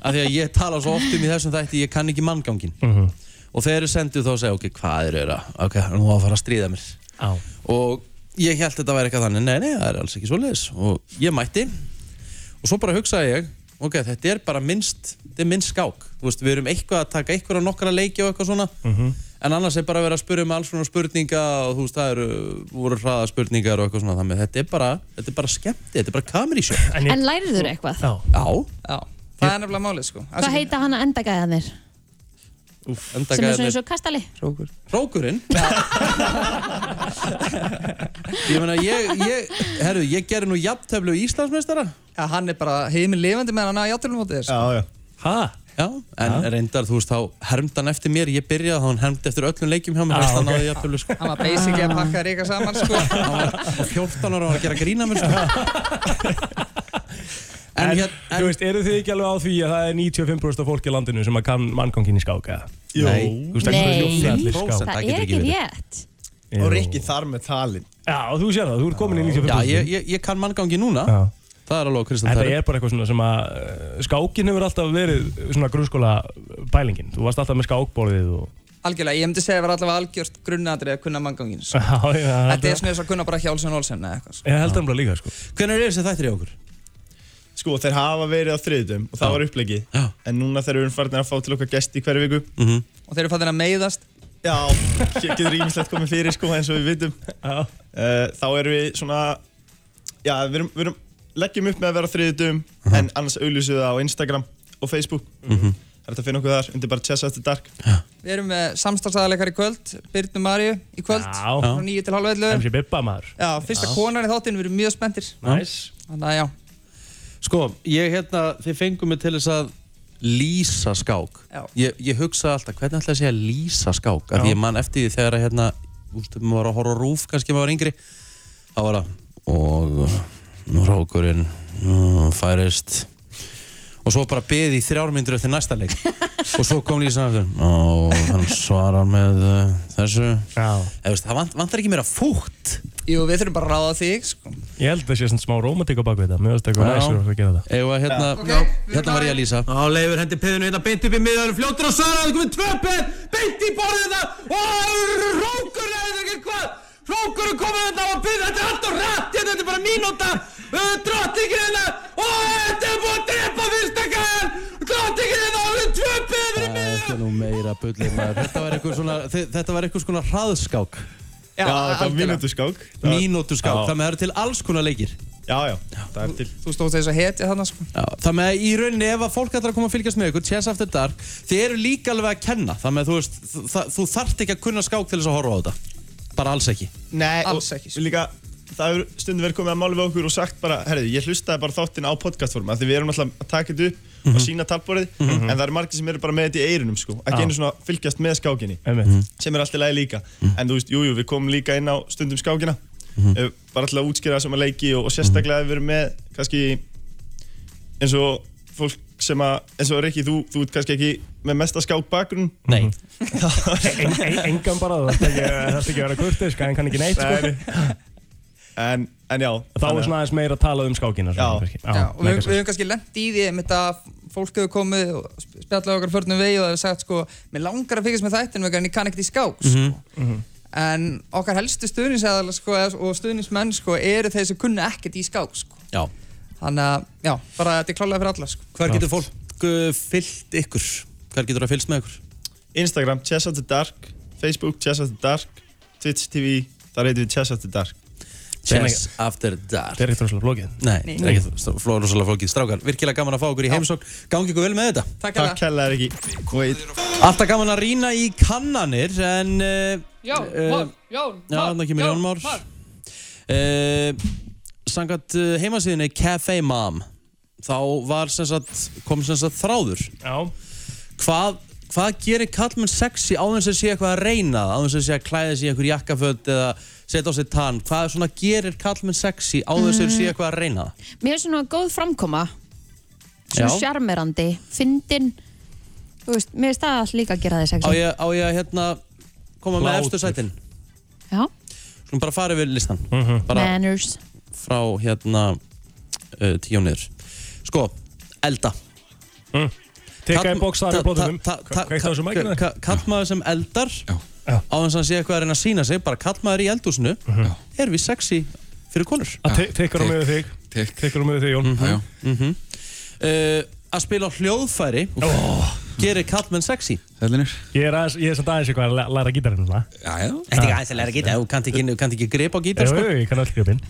C: Af því að ég tala svo oft um í þessum þætti, ég kann ekki manngangin. Og þegar þið senduð þá segja, ok, hvað er það? Ok, nú á að fara að stríða mér.
D: Á.
C: Og ég held þetta væri eitthvað þannig, nei, nei, það er alls ekki svoleiðis. Og ég mætti og svo bara hugsaði ég, ok, þetta er bara minnst, þetta er minnst skák. Þú veist, við erum eitthvað að taka eitthvað nokkara leiki og eitthvað svona.
D: mhm.
C: En annars er bara að vera að spyrja um alls svona spurninga og þú veist, það eru, voru hraða spurningar og eitthvað svona þannig. Þetta er bara, þetta er bara skemmti, þetta er bara kamerísjó.
B: En læriður eitthvað?
D: Já.
C: Já.
M: það er nefnilega málið sko
B: Hvað heita hann að endagæðanir?
C: Úf,
B: Sem er svona eins og kastali
M: Rókur.
C: Rókurinn? [laughs] ég meina, ég, ég, herru, ég gerði nú jafntöflu í Íslandsmeistara.
M: Já, hann er bara heiminn lifandi með hann að játtöflu mótið þér sko.
C: Já, já. Hæ? Já, en reyndar, þú veist, þá hermd hann eftir mér, ég byrjaði þá hann hermd eftir öllum leikjum hjá mér,
M: Já,
C: veist, hann
M: ok.
C: náði jafntöflu, sko.
M: hann var basically að pakka Rikka saman sko
C: Og 14 ára var að gera grína mér, sko.
D: En, þú veist, eru þið ekki alveg á því að það er 95% af fólki í landinu sem að kann manngangin í skák eða?
N: Jú.
D: Þú veist, ekki
N: Nei.
D: svona allir skák.
B: Það er ekki rétt
N: og Rikki þar með talin
D: Já, og þú sér það, þú ert komin í 95%
C: Já, ég, ég, ég kann manngangi núna. Það er alveg að Kristján
D: Þetta
C: Tari.
D: er bara eitthvað svona sem að uh, skákin hefur alltaf verið svona grunnskóla bælingin. Þú varst alltaf með skákborðið og... [laughs]
M: Algjörlega, ég myndi segja að vera allavega algjört grunnatrið að kunna manngangin sko.
D: Já, já,
M: Þetta er svona eins og að kunna bara Hjálsson Olsen eða eitthvað
D: Ég held það bara líka sko
C: Hvernig er þessi þættir í okkur?
N: Sko þeir hafa verið á þriðutum og það var upplegi En núna þeir eru farin að fá til okkar gesti í hverju viku
C: -hmm.
M: Og þeir eru farin að meiðast
N: Já, [laughs] hér getur ímislegt komið fyrir sko eins og við vitum Eh,
D: uh,
N: Þá erum við svona Já, við erum, við erum leggjum upp með að vera á þriðutum En annars auglýsum við það á Instagram og Facebook
C: Mhm.
N: Það er þetta að finna okkur þar undir bara Chess After Dark
M: sko. Við erum með samstarfsæðarleikar í kvöld Byrnu Maríu í kvöld
N: Já.
M: frá 9 til halv 11
D: MC Bibba maður
M: Já, fyrsta
C: Já.
M: konan í þáttinn, við erum mjög spenntir
C: Næs.
M: Þannig að já,
C: Sko, ég hérna, þið fengum mig til þess að lýsa skák.
M: Já.
C: Ég, ég hugsaði alltaf, hvernig ætla ég að segja lýsa skák? Af því ég man eftir því þegar að hérna, ústu, maður var að horfa á rúf, kannski maður var yngri. Þá var það, og nú rákurinn mm, færist. Og svo bara beði í þrjármyndur eftir næsta
M: [laughs]
C: leik. og svo kom lýsan aftur. Og hann svarar með uh, þessu.
D: Já.
C: Veist, það vant, vantar ekki meira fútt.
M: Jú, við þurfum bara að ráða þig sko.
D: Ég held að það sé svona smá rómatík á bakvið þetta. Mér finnst eitthvað
C: Já.
D: næsir að gera það.
C: Eða hérna,
D: Já, ok,
C: já, hérna var ég að lýsa. Já, leifur hendi piðinu hérna beint upp í miðarum, fljótur og svarar, það komið tvö pið, beint í borðið þetta, og rókur er þetta ekki hvað, rókur er komið þetta og pið, þetta er allt og rætt, hérna, þetta er bara mínúta, uh, drottningin hérna, og þetta er búið að drepa fyrsta gæða, bullir maður Þetta var eitthvað svona, þi- þetta var eitthvað svona hraðskák
N: Já, þetta var mínútuskák
C: Mínútuskák,
N: Já.
C: það með það eru til alls konar leikir
N: Já, já, það er til
M: Þú stóðst þess að hetja þarna sko
C: Já, það með að í rauninni ef að fólk ætlar að koma að fylgjast með ykkur Chess After Dark, þið eru líka alveg að kenna Það með að þú veist, þ- það- þú þarft ekki að kunna skák til þess að horfa á þetta Bara alls ekki
N: Nei, alls ekki sko. Líka, það hefur stundum verið komið að máli við okkur og sagt bara, herðu, ég hlustaði bara þáttin á podcastforma af Því við erum alltaf að taka þetta upp og sína talborið En það eru margir sem eru bara með þetta í eirunum sko Ekki
D: Já.
N: einu svona fylgjast með skákinni
B: Mhm.
D: Einmitt.
N: Sem er alltaf lægi líka En þú veist, jújú, jú, við komum líka inn á stundum skákina Eh, Bara alltaf að útskýra sem að leiki og, og sérstaklega ef við erum með kannski eins og fólk sem að, eins og Rikki, þú, þú ert kannski ekki með mesta skák bakgrunn
C: Nei
D: Engan bara, það þarf ekki það þarf ekki að vera kurtisk, hann kann ekki neitt sko.
N: en, en já
D: Þá er svona aðeins meira að tala um skákina svona, kannski. Já,
M: og við,
D: leggja
M: við
D: sig.
M: höfum kannski lent í því einmitt að fólk hefur komið og sp- spjallað okkar förnum vegi og hefur sagt sko, mér langar að fylgjast með þættinum en ég kann ekkert í skák sko. en okkar helstu stuðningsæðal sko, eða- og stuðningsmenn sko, eru þeir sem kunna ekkert í skák sko.
C: Já.
M: þannig að, já, bara þetta er klálega fyrir alla sko.
C: Hvar getur fólk uh, fyllt ykkur? Hvar getur það fylgst með ykkur?
N: Instagram, Chess After Dark Facebook, Chess After Dark Twitch TV, þar heitum við Chess After Dark
C: Chess After Dark
N: Það er ekkert rosalega flókið
C: Nei, það er ekki stó- fló- rosalega flókið strákar Virkilega gaman að fá okkur í heimsókn Gangi ykkur vel með þetta
M: Takk
N: Takk hella er ekki Wait.
C: Alltaf gaman að rýna í kannanir En uh,
B: Jón,
C: eh,
B: Már, Jón,
C: Já,
B: Már,
C: þarna kemur Jón Már. uh, Sangat uh, heimasíðinni Cafe Mom Þá var sem sagt, kom sem sagt þráður
D: Já
C: Hvað, hvað gerir kallmenn sexy á þess að sé eitthvað að reyna það, á þess að sé að klæða sig í einhver jakkaföld eða setja á sig tann Hvað svona gerir kallmenn sexy á þess að
B: Mm.
C: sé eitthvað að reyna það?
B: Mér er svona góð framkoma Svona
C: Já.
B: sjarmerandi, fyndin Þú veist, mér er stað líka að gera þig
C: Á
B: sexy
C: ég, á ég að hérna koma með
D: Hlátur.
C: efstu sætin?
B: Já.
C: Skulum bara fara yfir listan.
B: Mhm.
C: Bara
B: Manners
C: frá hérna uh, tíu og niður. Sko, elda. Mm.
D: Tikka í box, taka plótunum. Kveiktu á þessu mækinu.
C: Kallmaður sem eldar, á þess að hann sé eitthvað að reyna að sína sig, bara kallmaður í eldhúsinu,
D: Mhm.
C: er við sexy fyrir konur.
D: Tikkur á með þig Tikkur á með þig, Jón
C: Já, já. Mhm. Uh, Að spila á hljóðfæri gerir kallmenn sexy.
D: Hellinir Ég er aðeins, ég er samt aðeins eitthvað að læ- læra gítarinn svona Ah.
C: Já, já. Þetta er ekki aðeins að læra gítar, þú kannt ekki, þú kannt ekki grip á gítar,
D: Jú,
C: sko.
D: jú, ég kann öll gítarinn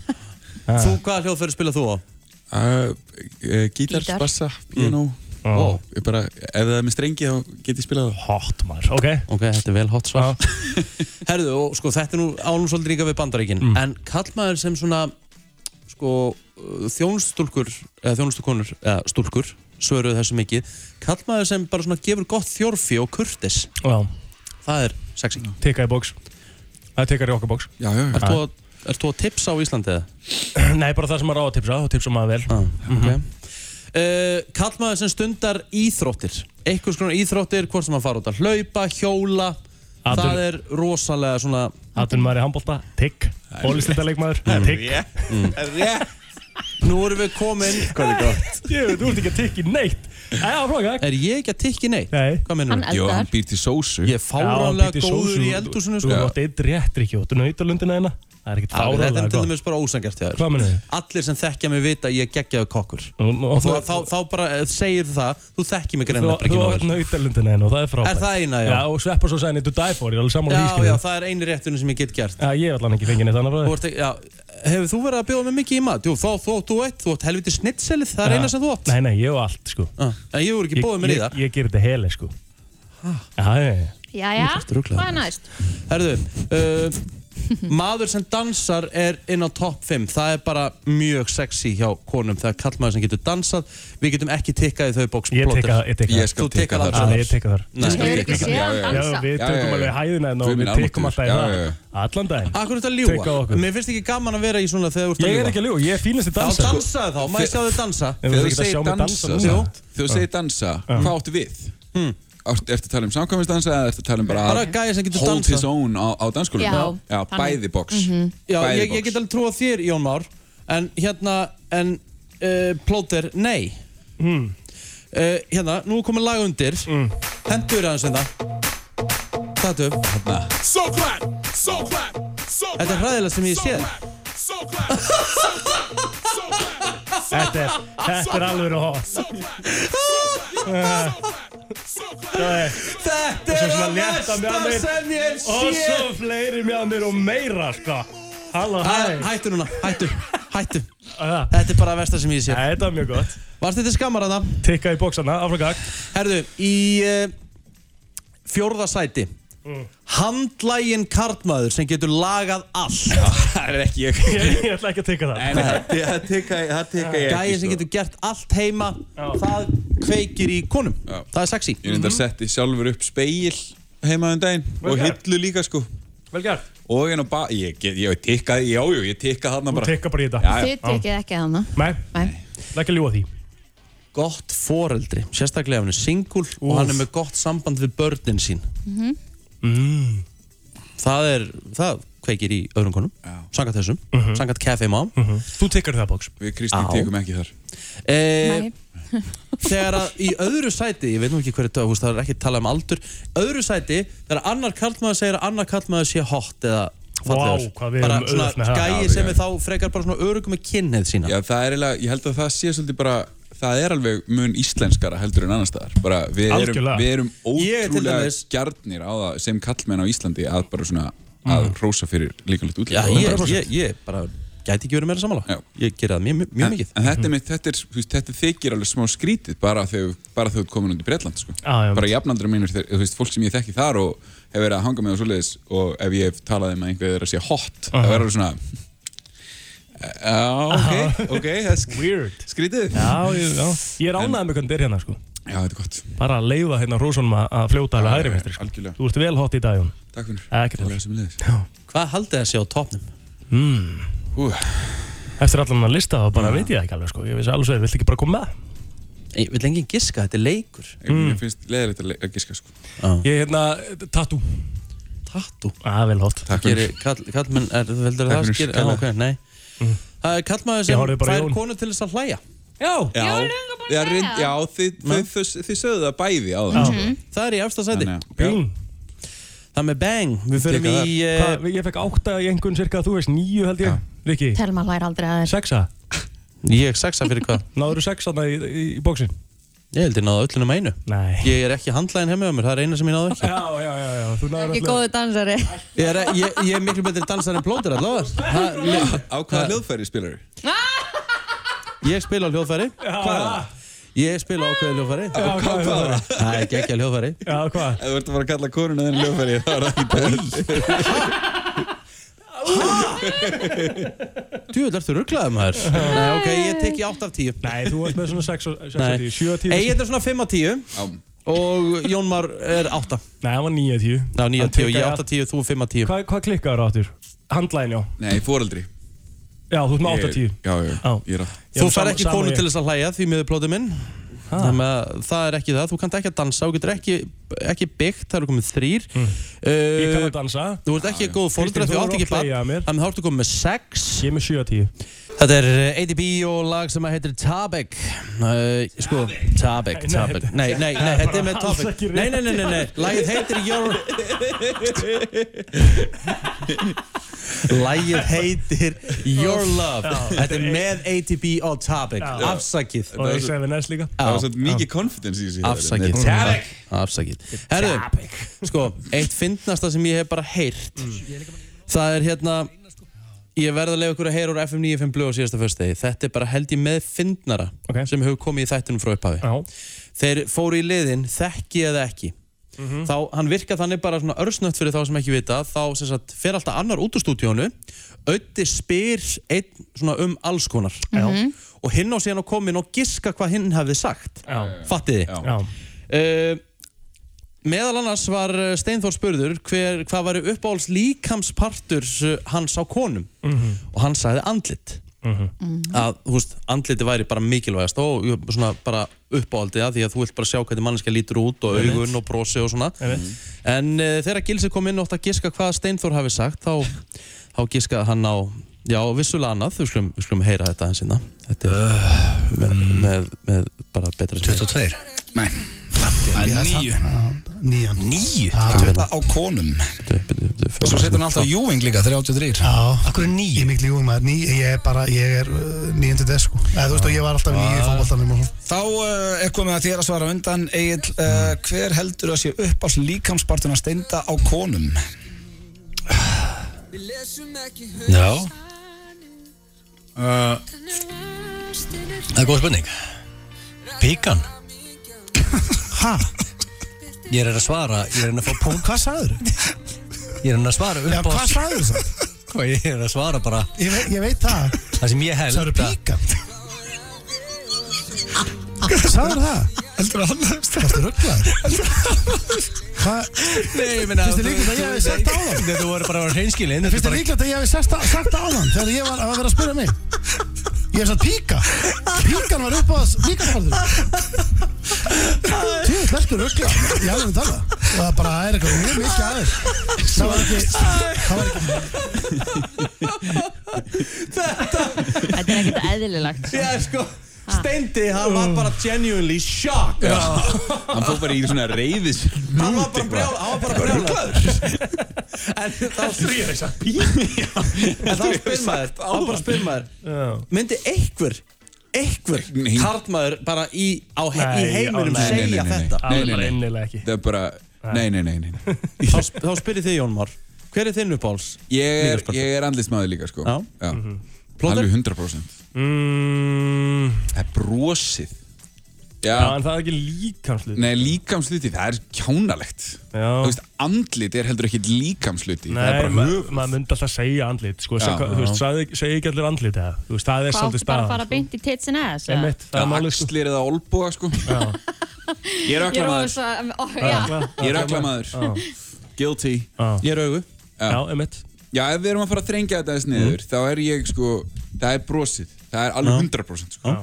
D: Ah.
C: Þú, hvaða hljóðfæri spila þú á?
K: Uh, uh, gítar,
C: Gítar.
K: bassa, piano
D: Ó.
K: og ég bara, ef það er með strengi þá get ég spilað það
D: Ah. Hot maður, Ah. ok
C: Ok, þetta er vel hot svar [laughs] Herðu, og sko, þetta er nú ánum svolítið líka við bandaríkin
D: Mm.
C: En kallmaður sem svona Sko, uh, þjónustúlkur Eða þjónustukonur, eða stúlkur Svöruðu þessu mikið Kallmaður sem bara svona gefur gott þjórfi og kurtis
D: Já.
C: Það er sexy
D: Tikka í box Það er tikkar í okkar box
K: Já, já,
C: Ert þú að- ert þú að tipsa á Íslandi eða?
D: [clears throat]
C: Ah,
D: Nei, bara það sem maður á að tipsa, þá tipsa maður vel Mhm.
C: okay. Uh, kallmaður sem stundar íþróttir Eitthvað skona íþróttir, hvort sem að fara út að hlaupa, hjóla
D: Atvinnu-
C: Það er rosalega svona
D: Atun maður í handbólta, tikk Bólistindaleikmaður, tikk
C: Rétt Mm. Nú erum við komin Hvað er gott?
D: Ég veit, þú ert ekki að tikka í neitt Æja, fróka
C: Er ég ekki að tikka í neitt? Nei Hvað mennur
D: Hann eldar. Jú, hann
K: býr til sósu
C: Ég er fáránlega góður í eldhúsinu
D: Þú
C: sko.
D: átt eitt rétt, Rikki, og þú nöytar lundina hérna Það er ekkert
C: Já, Þetta er
D: fáránlega
C: til
D: gott
C: dæmis bara ósangjart hjá
D: Hvað meinarðu?
C: þér Allir sem þekkja mig vita að ég er geggjaður kokkur
D: nú-
C: Og þú,
D: þú-
C: þá, þá bara eh, segir þú það Þú þekkir mig
D: Þú
C: greinlega bara ekki
D: þú
C: nóg
D: átt
C: vel.
D: nautalundina hérna og það er frábært
C: Er það eina, já?
D: Já, og sveppar svo sæðin í Do Die For, ég er alveg sammála
C: Já,
D: því
C: já,
D: skilur
C: það er eini réttunum sem ég get gert
D: Já, ég er allan ekki fengið neitt annað frá
C: Þú ert ekki- já, Hefur þú verið að bjóða mig mikið í mat? Jú, þá þú átt þú eitt, þú átt helviti snitselið Það er
D: Já.
C: eina sem þú átt
D: Nei, nei, ég og allt, sko
C: En ég voru ekki bóðið mér í það
D: Ég, ég ger þetta heli, sko Já, já, já
B: Jæja,
C: Þú ert ruglaður,
B: hvað er næst?
C: Herðu, uh, maður sem dansar er inn á topp 5. Það er bara mjög sexy hjá konum. Það er kallmaður sem getur dansað. Við getum ekki tikkað í þau bóks.
D: Ég tikka- ég tikka. Ég skal
C: Þú
D: tikka
C: tikkað
D: þar.
C: þar.
D: Já, ég tikka þar.
C: Nei.
D: Ég skal Hefurðu ekki tikka þar. séð hann Já, já, já. dansa? Já, við tökum alveg hæðina hérna og við tikkum alltaf í það. Allan daginn.
C: Akkur þetta
D: Tikka á
C: ljúa.
D: okkur.
C: [laughs] Mér finnst ekki gaman að vera í svona þegar þú ert að ljúa.
D: Ég er ekki að ljúga, ég er fínasti dansari.
C: Þá dansaði þá, maður sjá þau dansa.
K: Þegar þú segir dansa,
C: Jú.
K: þegar þú segir dansa, hvað áttu við? Hmm. Ertu að tala um samkvæmisdansa eða ertu að tala um bara,
C: Bara gæja sem getur
K: Hold
C: dansað.
K: his own á, á danskólu
C: Já,
K: Já
C: þannig. Mhm.
K: bæði box
C: Já,
K: Bæði
C: ég, ég get alveg trúa þér, Jón Már En hérna, en uh, Plóter, nei mm. Hérna, nú er komin lag undir mm. Hendur aðeins hérna Tattu Hérna
O: So clap, so clap, so clap.
C: Þetta er hræðilega sem ég sé
O: So clap, so clap, so clap.
D: Þetta er, þetta er alveg hot
O: So clap, so clap, so clap, so clap.
M: Þetta er
D: Og svo Eh. svona
M: að
D: létta
M: versta
D: mjamir.
M: sem ég hef
D: Og
M: séð.
D: svo fleiri mjánir og meira sko Halló, hæ
C: Hættu núna, hættu,
D: [laughs]
C: hættu Þetta er bara að versta sem ég sé
D: Þetta var mjög gott
C: Varst þetta skammar að það?
D: Tikka í bóksana, áfram gag
C: Herðu, í uh, fjórðasæti
D: Mm.
C: Handlægin kartmaður sem getur lagað allt [laughs] Það er ekki ég
D: [laughs] Ég ég ætla ekki að tikka það
C: Það teka
K: ég ekki,
C: Gæði sem
K: sko.
C: getur gert allt heima Það kveikir í konum Það er sexy
K: Ég reyndar setti sjálfur upp speil heima um daginn og
D: gert.
K: hillu líka sko
D: Vel gert
K: og hérna bara, ég, ég, ég tikkaði, jájú, ég tikkaði þarna bara
D: Þú tikka bara í þetta
K: Já, já.
B: Þið tekið ekki að hana
D: Nei,
B: Nei.
D: það er ekki að ljúa því
C: Gott foreldri, sérstaklega ef hann er singul og hann er með gott samband við börnin sín
B: Mhm.
C: mm. Það er, það kveikir í öðrum konum Sangat þessum, mm -hmm. sangat Café Mom
D: Mhm. Þú tekur það bóks
K: Við Kristín tikum ekki þar
C: e, Þegar að í öðru sæti Ég veit nú ekki hverju dag, það er ekki að tala um aldur Öðru sæti, þegar annar karlmaður segir að annar karlmaður sé hot eða fallegur
K: Vá, hvað við
C: Bara
K: erum auðvelt með
C: svona
K: það.
C: gæi
K: Já,
C: sem
K: já.
C: er þá frekar bara svona örugum með kynnið sína
K: Já, það er eiginlega, ég held að það sé svolítið bara það er alveg mun íslenskara heldur en annar staðar bara við erum,
D: Algjörlega.
K: við erum
D: Ég er til
K: ótrúlega
D: dæmis-
K: gjarnir á það sem kallmenn á Íslandi að bara svona að
C: Mhm.
K: rósa fyrir líkanlegt útlýtt
C: Já, ég, ég, ég bara gæti ekki verið meira sammála Ég gera það mjög, mjög, mjög mikið
K: En þetta, er mitt, þetta, er, þú veist, þetta þykir alveg smá skrítið bara þegar bara þegar þú ert komin út í Bretland sko.
D: Ah, Já, já.
K: bara jafnaldra mínir, þeir, þú veist, fólk sem ég þekki þar og hef verið að hanga með og svoleiðis og ef ég hef talað um að einhver er að sé hot
D: Aha.
K: það verður svona Já, ok, ok, það er sk-
D: Weird
K: skrítið
D: Já, ég, já. ég er ánægð með hvernig þetta er hérna sko
K: Já, þetta er gott
D: Bara að leifa hérna hrósunum að- að fljóta alveg hægri minnstri
K: Algjörlega
D: Þú ert vel hot í dag, Jón
K: Takk fyrir
D: Ekkert mál.
C: Hvað haldið það sé á topnum?
D: Mm. Eftir allan að lista þá bara veit ég það ekki alveg sko Ég vissi alveg svo, viltu ekki bara koma með? Hmm.
C: Ég vil enginn giska, þetta er leikur
K: Mér finnst leðilegt að le- að giska sko
D: Ég er hérna, tattoo
C: Tattoo?
D: Já, Ah, vel hot
C: Takk fyrir kall, Kallmenn, er, þú heldur að
D: Takk
C: það
D: fyrir
C: skil Já,
D: skella.
C: ok, nei Það er kallmaður
D: Mm. Ég
C: sem
D: horfði bara í
C: fær
D: Jón.
C: konu til þess að hlæja
D: Já,
K: já, já, reynd, já þið, þið, þið, þið sögðu það bæði á það
D: Mhm.
K: sko.
C: Það er í efsta sæti
D: Bing.
C: Það með bang, við förum
D: Tekka
C: í
D: þar.
C: uh,
D: Hvað, Ég fekk átta í einhvern cirka, þú veist, nýju held ég Rikki,
B: Telma hlær aldrei að þér
D: sexa
C: Ég sexa fyrir
D: [laughs]
C: hvað?
D: Náður þú sexa þarna í, í, í bóksin?
C: Ég held ég náða öllunum einu
D: Nei
C: Ég er ekki handlæðin heima á mér, það er eina sem ég náðu ekki
D: Já, já, já, já, þú náður
B: Ekki góðu dansari
C: Ég er, ég, ég er miklu betri dansar en plóter [laughs] allavega
K: Á hvaða hljóðfæri spilar þau?
C: Ég spila á hljóðfæri Hvaða? Ég spila á hvaða hljóðfæri
K: hvað- hvaða?
C: Það er ekki ekki hljóðfæri
D: Já, hvað?
K: Ef þú ert að fara að kalla konuna þinn hljóðfæri þá er það ekki
C: Djúvel, ertu rugglaðið maður? Nei, ok, ég teki 8 af 10
D: Nei, þú varst með svona 6 og 10, 7 og 10
C: Ég er svona 5 af 10 Og Jón Már er 8
D: Nei, hann var 9 að 10
C: Ná, 9
D: Hann
C: af 10, ég
D: tikkaði
C: 8 af 10, þú 5 af 10
D: Hvað hva klikkaður áttur? Handlæðin, já
K: Nei, foreldri
D: Já, þú ert með 8 að 10
K: Já, já, ég
D: Já.
K: er að
D: Já,
C: Þú
D: sama-
C: fær ekki
D: sama
C: konu
D: ég.
C: til þess að hlæja því miður plótið minn Þannig að það er ekki það, þú kannt ekki að dansa, þú getur ekki, ekki byggt, það eru komið þrýr
D: Mm. Ég kann að dansa Ah,
C: Þú ert ekki góð fóldra því þú átt
D: Kristín, þú voru
C: ekki
D: að
C: bann
D: playa mér.
C: Þannig að þú ertu komið með 6
D: Ég er með 7 að 10
C: Þetta er eh, ADB og lag sem að heitir Tabek uh, Sko, Tabek,
D: Nei,
C: Tabek
D: þetta-
C: Nei, nei, nei,
D: Það er
C: þetta er
D: bara
C: með
D: alls
C: Tabek
D: ekki
C: Nei,
D: rétt.
C: nei, nei, nei, nei, lagið heitir Your
D: [laughs]
C: Lagið heitir Your Love
D: Já.
C: Þetta er með ADB og Tabek
D: Já.
C: Afsakið
D: Og ég segi við næst líka
K: Það var svolítið mikið confidence í þessu
C: Afsakið
K: Tabak
C: Afsakið Herðu, sko, eitt fyndnasta sem ég hef bara heyrt Það er hérna Ég verð að leiða ykkur að heyra úr FM 95 blöð á síðasta föstudegi Þetta er bara held ég með fyndnara sem hefur komið í þættunum frá upphafi
D: Já.
C: Þeir fóru í liðin, þekki eða ekki
D: Mhm.
C: Þá, hann virka þannig bara svona örsnött fyrir þá sem ekki vita þá sem sagt, fer alltaf annar út úr stúdíónu Ötti spyr einn svona um alls konar
D: Já.
C: og hinn á síðan að koma inn og giska hvað hinn hafði sagt
D: Já.
C: Fattið þið?
D: Já.
C: Eh, meðal annars var eh, Steinþór spurður hver, hvað var uppáhalds líkamspartur eh, hans á konum
D: Mhm.
C: og hann sagði andlit að þú veist, andliti væri bara mikilvægast og jú, svona bara uppáhaldið að því að þú vilt bara sjá hvernig manneskja lítur út og
D: Einmitt.
C: augun og brosi og svona en uh, þegar Gilsi kom inn og átt að giska hvað Steinþór hafi sagt þá, þá giskaði hann á já, vissulega annað, við skulum, við skulum heyra þetta eins innan þetta er með, með, með bara betra 22
P: Nei Það er nýju Nýjan Nýju Á konum
C: Bíddu, bíddu, bíddu.
P: Svo setur hann alltaf júing líka, 33
Q: Já, Akkur er nýjum? Ég er mikil júing maður, ný, ég er bara, ég er nýjum til þess sko Eða, Þú veist og ég var alltaf nýjum í fótboltanum og svona
P: Þá uh, er komið að þér að svara á undan Egil, uh, hver heldur að sé upp á líkamspartuna steinda á konum?
R: Já Það er góð spurning Píkan
Q: Hæ?
R: Ég er að svara Ég er að fá punkt
Q: Hvað sagður?
R: Ég er að svara upp
Q: Já,
R: á
Q: hvað
R: [laughs]
Q: sagður það?
R: Hvað, Ég er að svara bara
Q: Ég, veit- ég veit það
R: Það sem ég held
Q: Sagður
R: að-
Q: píkan? Sagður það?
P: Heldur að hann hefst
Q: það? Varstu rugglaður? Hvað?
R: Nei, ég meina
Q: Finnst þér líklegt að ég hafi sagt á það?
R: Þetta voru bara að vera hreinskilin
Q: Finnst þér líklegt að ég hafi sagt, sagt á hann þegar ég var að vera að spyrja mig? Ég hef sagt píka Píkan var upp á þess píkafarður Tíu, hlertu ruggla Ég hafði um tala Og það bara er eitthvað mjög mikið aðeins Það var ekki Það var ekki
B: Þetta er ekkert eðlilegt
C: Já, sko Steindi, hann var bara genuinely shocked
K: Já. Hann fór bara í svona reyðis Hann var bara brjál
C: Hann var bara brjálaður En þá spyr ég þess að En þá spyr maður Þá bara spyr maður Myndi einhver Einhver Karlmaður bara í á he- í heiminum segja þetta
K: Nei, nei, nei, nei. Það er bara, nei, nei, nei, nei.
C: Þá sp- Þá spyrir þið Jón Már Hver er þinn uppáls?
K: Ég er, ég er andlismæður líka sko Já, Já.
C: Plóter?
K: Alveg 100%
D: Mm,
K: Það er brosið Já,
D: Já, en það er ekki líkamsluti
K: Nei, líkamsluti, það er kjánalegt Já Þú veist, andlit er heldur ekki líkamsluti Það er
D: Nei,
K: bara
D: ma-
K: höf
D: maður myndi alltaf segja andlit sko,
K: Já,
D: sag,
K: já.
D: Þú veist, sagði- segi ekki allir andlit eða Þú veist, það er
B: Hvað
D: svolítið
B: áttu bara að
D: staðan
B: fara beint í tits and ass eða?
D: Einmitt, það er málið sko
K: Axlir eða olbúa sko
B: Ég
K: Ég er
B: er
K: öklamaður
B: rosa ó, já.
K: Ég er öklamaður Guilty
C: Ég er augu
K: Já,
D: emitt
K: Já, ef við erum að fara að þrengja þetta þess niður Þá er ég sko, það er brosið Það er alveg 100% sko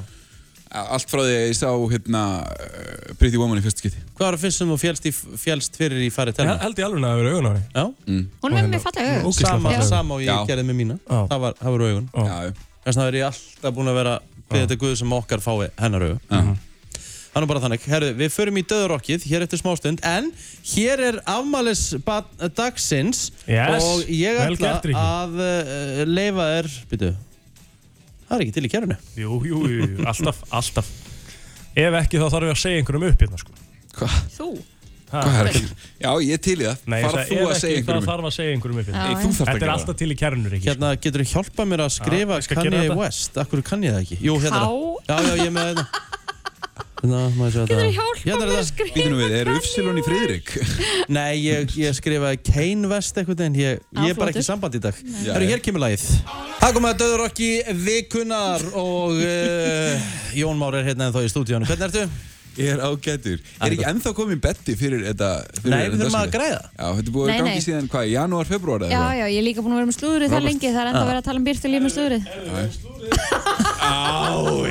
K: Allt frá því að ég sá hérna uh, Pretty Woman í fyrsta skipti
C: Hvað var það fyrst sem þú fjálst, í, fjálst fyrir í farið
D: Ég
C: telma?
D: held ég alveg að það verið augun á henni
C: Já
K: Mm.
B: Hún er með fallega augun.
C: Sama,
B: Já.
C: sama og ég
K: Já.
C: gerði með mína Það var, það var augun Þess vegna er ég alltaf búin að vera Við þetta guð sem okkar fái hennar augu Það er nú bara þannig, herru, við förum í döðurokkið hér eftir smástund, en hér er afmælis dagsins
D: Yes,
C: og ég
D: vel
C: ætla
D: gert, Ríkki.
C: að uh, leifa þér, býtu, það er ekki til í kerfinu.
D: Jú, jú, jú, jú, alltaf, alltaf Ef ekki þá þarf ég að segja einhverjum upp hérna sko
B: Þú?
K: Hvað er ekki? Já, ég er til í það
D: Nei,
K: Fara
D: það
K: þú
D: ef
K: að
D: ekki,
K: segja einhverjum
D: Þá
K: upp.
D: þarf að segja einhverjum upp hérna.
K: Nei, þú þarft að
D: Þetta er
K: gera
D: alltaf til í kernur ekki
C: Hérna, getur þú hjálpað mér að skrifa
D: ég skal gera
C: Kanye
D: þetta.
C: West? Akkur kann ég það ekki? Jú, hérna. er það.
B: Há?
C: Já, já, ég er með þetta. Hérna, maður sé þetta.
B: Getur þú hjálpað mér að skrifa?
K: Býtum við, er Ufsilon í Friðrik?
C: [laughs] Nei, ég, ég skrifaði Kane West eitthvað, en ég, ég er bara
K: flottur.
C: ekki í sambandi í dag.
K: Já,
C: Herru,
K: já.
C: hér kemur lagið. Það kom að döður okki vikunar og uh, Jón Már er hérna ennþá í stúdíónu. Hvernig ertu?
K: Ég er ágætur. Er ekki ennþá komið betti fyrir þetta? Fyrir
C: Nei, við
K: þetta
C: þurfum að
K: dagskrá?
C: græða.
K: Já, þetta er búið
B: Nei,
K: að gangi
B: nei.
K: síðan hvað, janúar, februar eða
B: Já,
K: eitthvað?
B: já, ég er líka búin að vera með slúðrið það
K: Robert.
B: lengi Það er enda
K: Ah.
B: að vera að tala um byrtu líf með slúðrið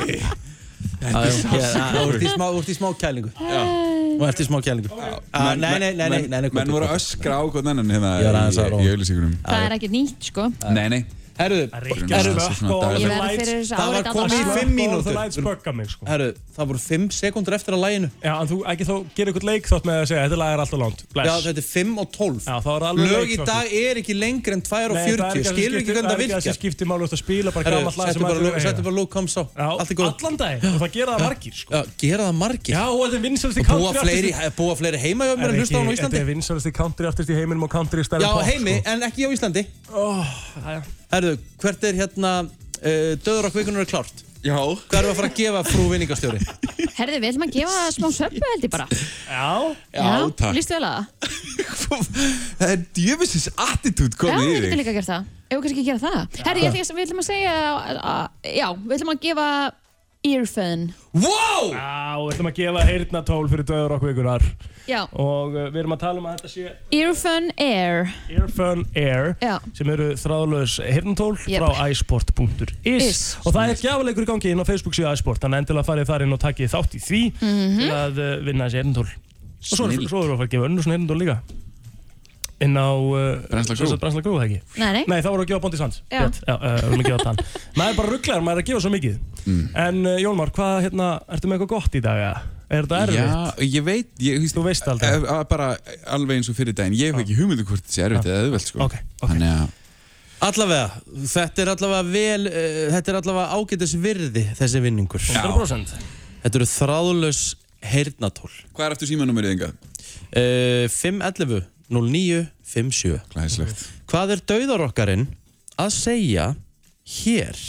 K: Ái
C: Já, já, já, já, Þú ert í smá- þú ert í smá kælingu. Þú ert í smá kælingu. Ah,
K: Menn-
C: Nei, nei, nei, nei,
K: menn-
C: nei, nei.
K: Menn voru að öskra á hvern annan hérna
C: Ég var aðeins að
K: í-
C: róa.
K: í auðlýsingunum.
B: Það er ekki nýtt, sko
K: Nei, nei.
C: Herru,
K: herru,
B: Ég verð fyrir
C: Það
B: þessu árið
C: var komið í fimm
D: Það
C: mínútur.
D: læt spögga mig sko
C: Herru, það voru fimm sekundur eftir að læginu.
D: Já, en þú ekki þá gerir eitthvað leik þátt með að segja Þetta lag er alltaf langt
C: Já, þetta er 5 og 12
D: Já, þá er alveg
C: Lög í
D: leikþáttur.
C: dag er ekki lengri en 2 og
D: Nei, það er
C: 40 Skilur
D: ekki að skipti-
C: ekki hvernig það
D: Það er ekki að
C: virkar
D: það skipti máli út að spila bara
C: Herru,
D: gammal lag
C: settu
D: sem
C: bara
D: allir
C: lög-
D: eiga.
C: settu bara Luke Combs á Allt í góð
D: Allan dag, og það gera það margir sko
C: Já, gera það margir
D: Já, og þetta er vinsælusti
C: Og búa fleiri, búa fleiri heima hjá mér en hlusta á hún á
D: Þetta
C: Íslandi
D: er vinsælusti country artist í heiminum og country stærri
C: Já,
D: pop, sko.
C: heimi, en ekki á Íslandi
D: já.
C: Herru, hvert er hérna uh, Döður okkur vikunar er klárt
K: Já
C: Hvað erum við að fara að gefa frú vinningastjóri?
B: Herði, við ætlum að gefa það smá söppu held ég bara
D: Já,
B: Lýstu vel að það?
K: Það er djöfisins attitút
B: Já,
K: komið
B: við
K: í
B: getum
K: þig.
B: líka að gera það Ef við kannski að gera það Herði, ég ætla að við ætlum að segja að- Já, við ætlum að gefa earphone
C: Wow!
D: Já, við ætlum að gefa heyrnatól fyrir döður okkur vikunar
B: Já,
D: Og uh, við erum að tala um að þetta sé
B: earphone air
D: Earphone Air
B: Já.
D: sem eru þráðlaus heyrnatól
B: Yep.
D: frá iSport.is
B: Is.
D: og það er gjafaleikur í gangi inn á Facebook síðu iSport þannig að endilega farið þar inn og takkið þátt í því
B: Mhm.
D: til að uh, vinna þessi heyrnatól og svo er-
B: Snilld.
D: svo erum við að fara að gefa önnur svona heyrnatól líka inn á uh,
K: Brennsla Crew.
D: Brennsla Grú, það ekki?
B: Nei,
D: [laughs]
B: nei.
D: þá voru að gefa Bondi Sands
B: Já.
D: Rétt, já, uh, vorum að gefa
B: [laughs]
D: þann
K: Mm.
D: eh, maður er bara rugglar, maður er að gefa svo mikið en uh, Jólmar, hvað hérna, ertu með eitthvað gott í dag? eða? Er þetta erfitt?
K: Já, ég veit, ég, þú
D: veist
K: aldrei Bara alveg eins og fyrir daginn, ég hef ekki hugmyndu hvort þessi erfitt eða auðvelt sko okay, okay. Þannig að
C: Allavega, þetta er allavega vel, uh, þetta er allavega ágætis virði þessi vinningur.
D: 100%.
C: Þetta eru þráðlaus heyrnatól.
K: Hvað er aftur símanúmerið yngað?
C: Uh, 511 0957.
K: Glæslegt.
C: Hvað er dauðarokkarinn að segja hér?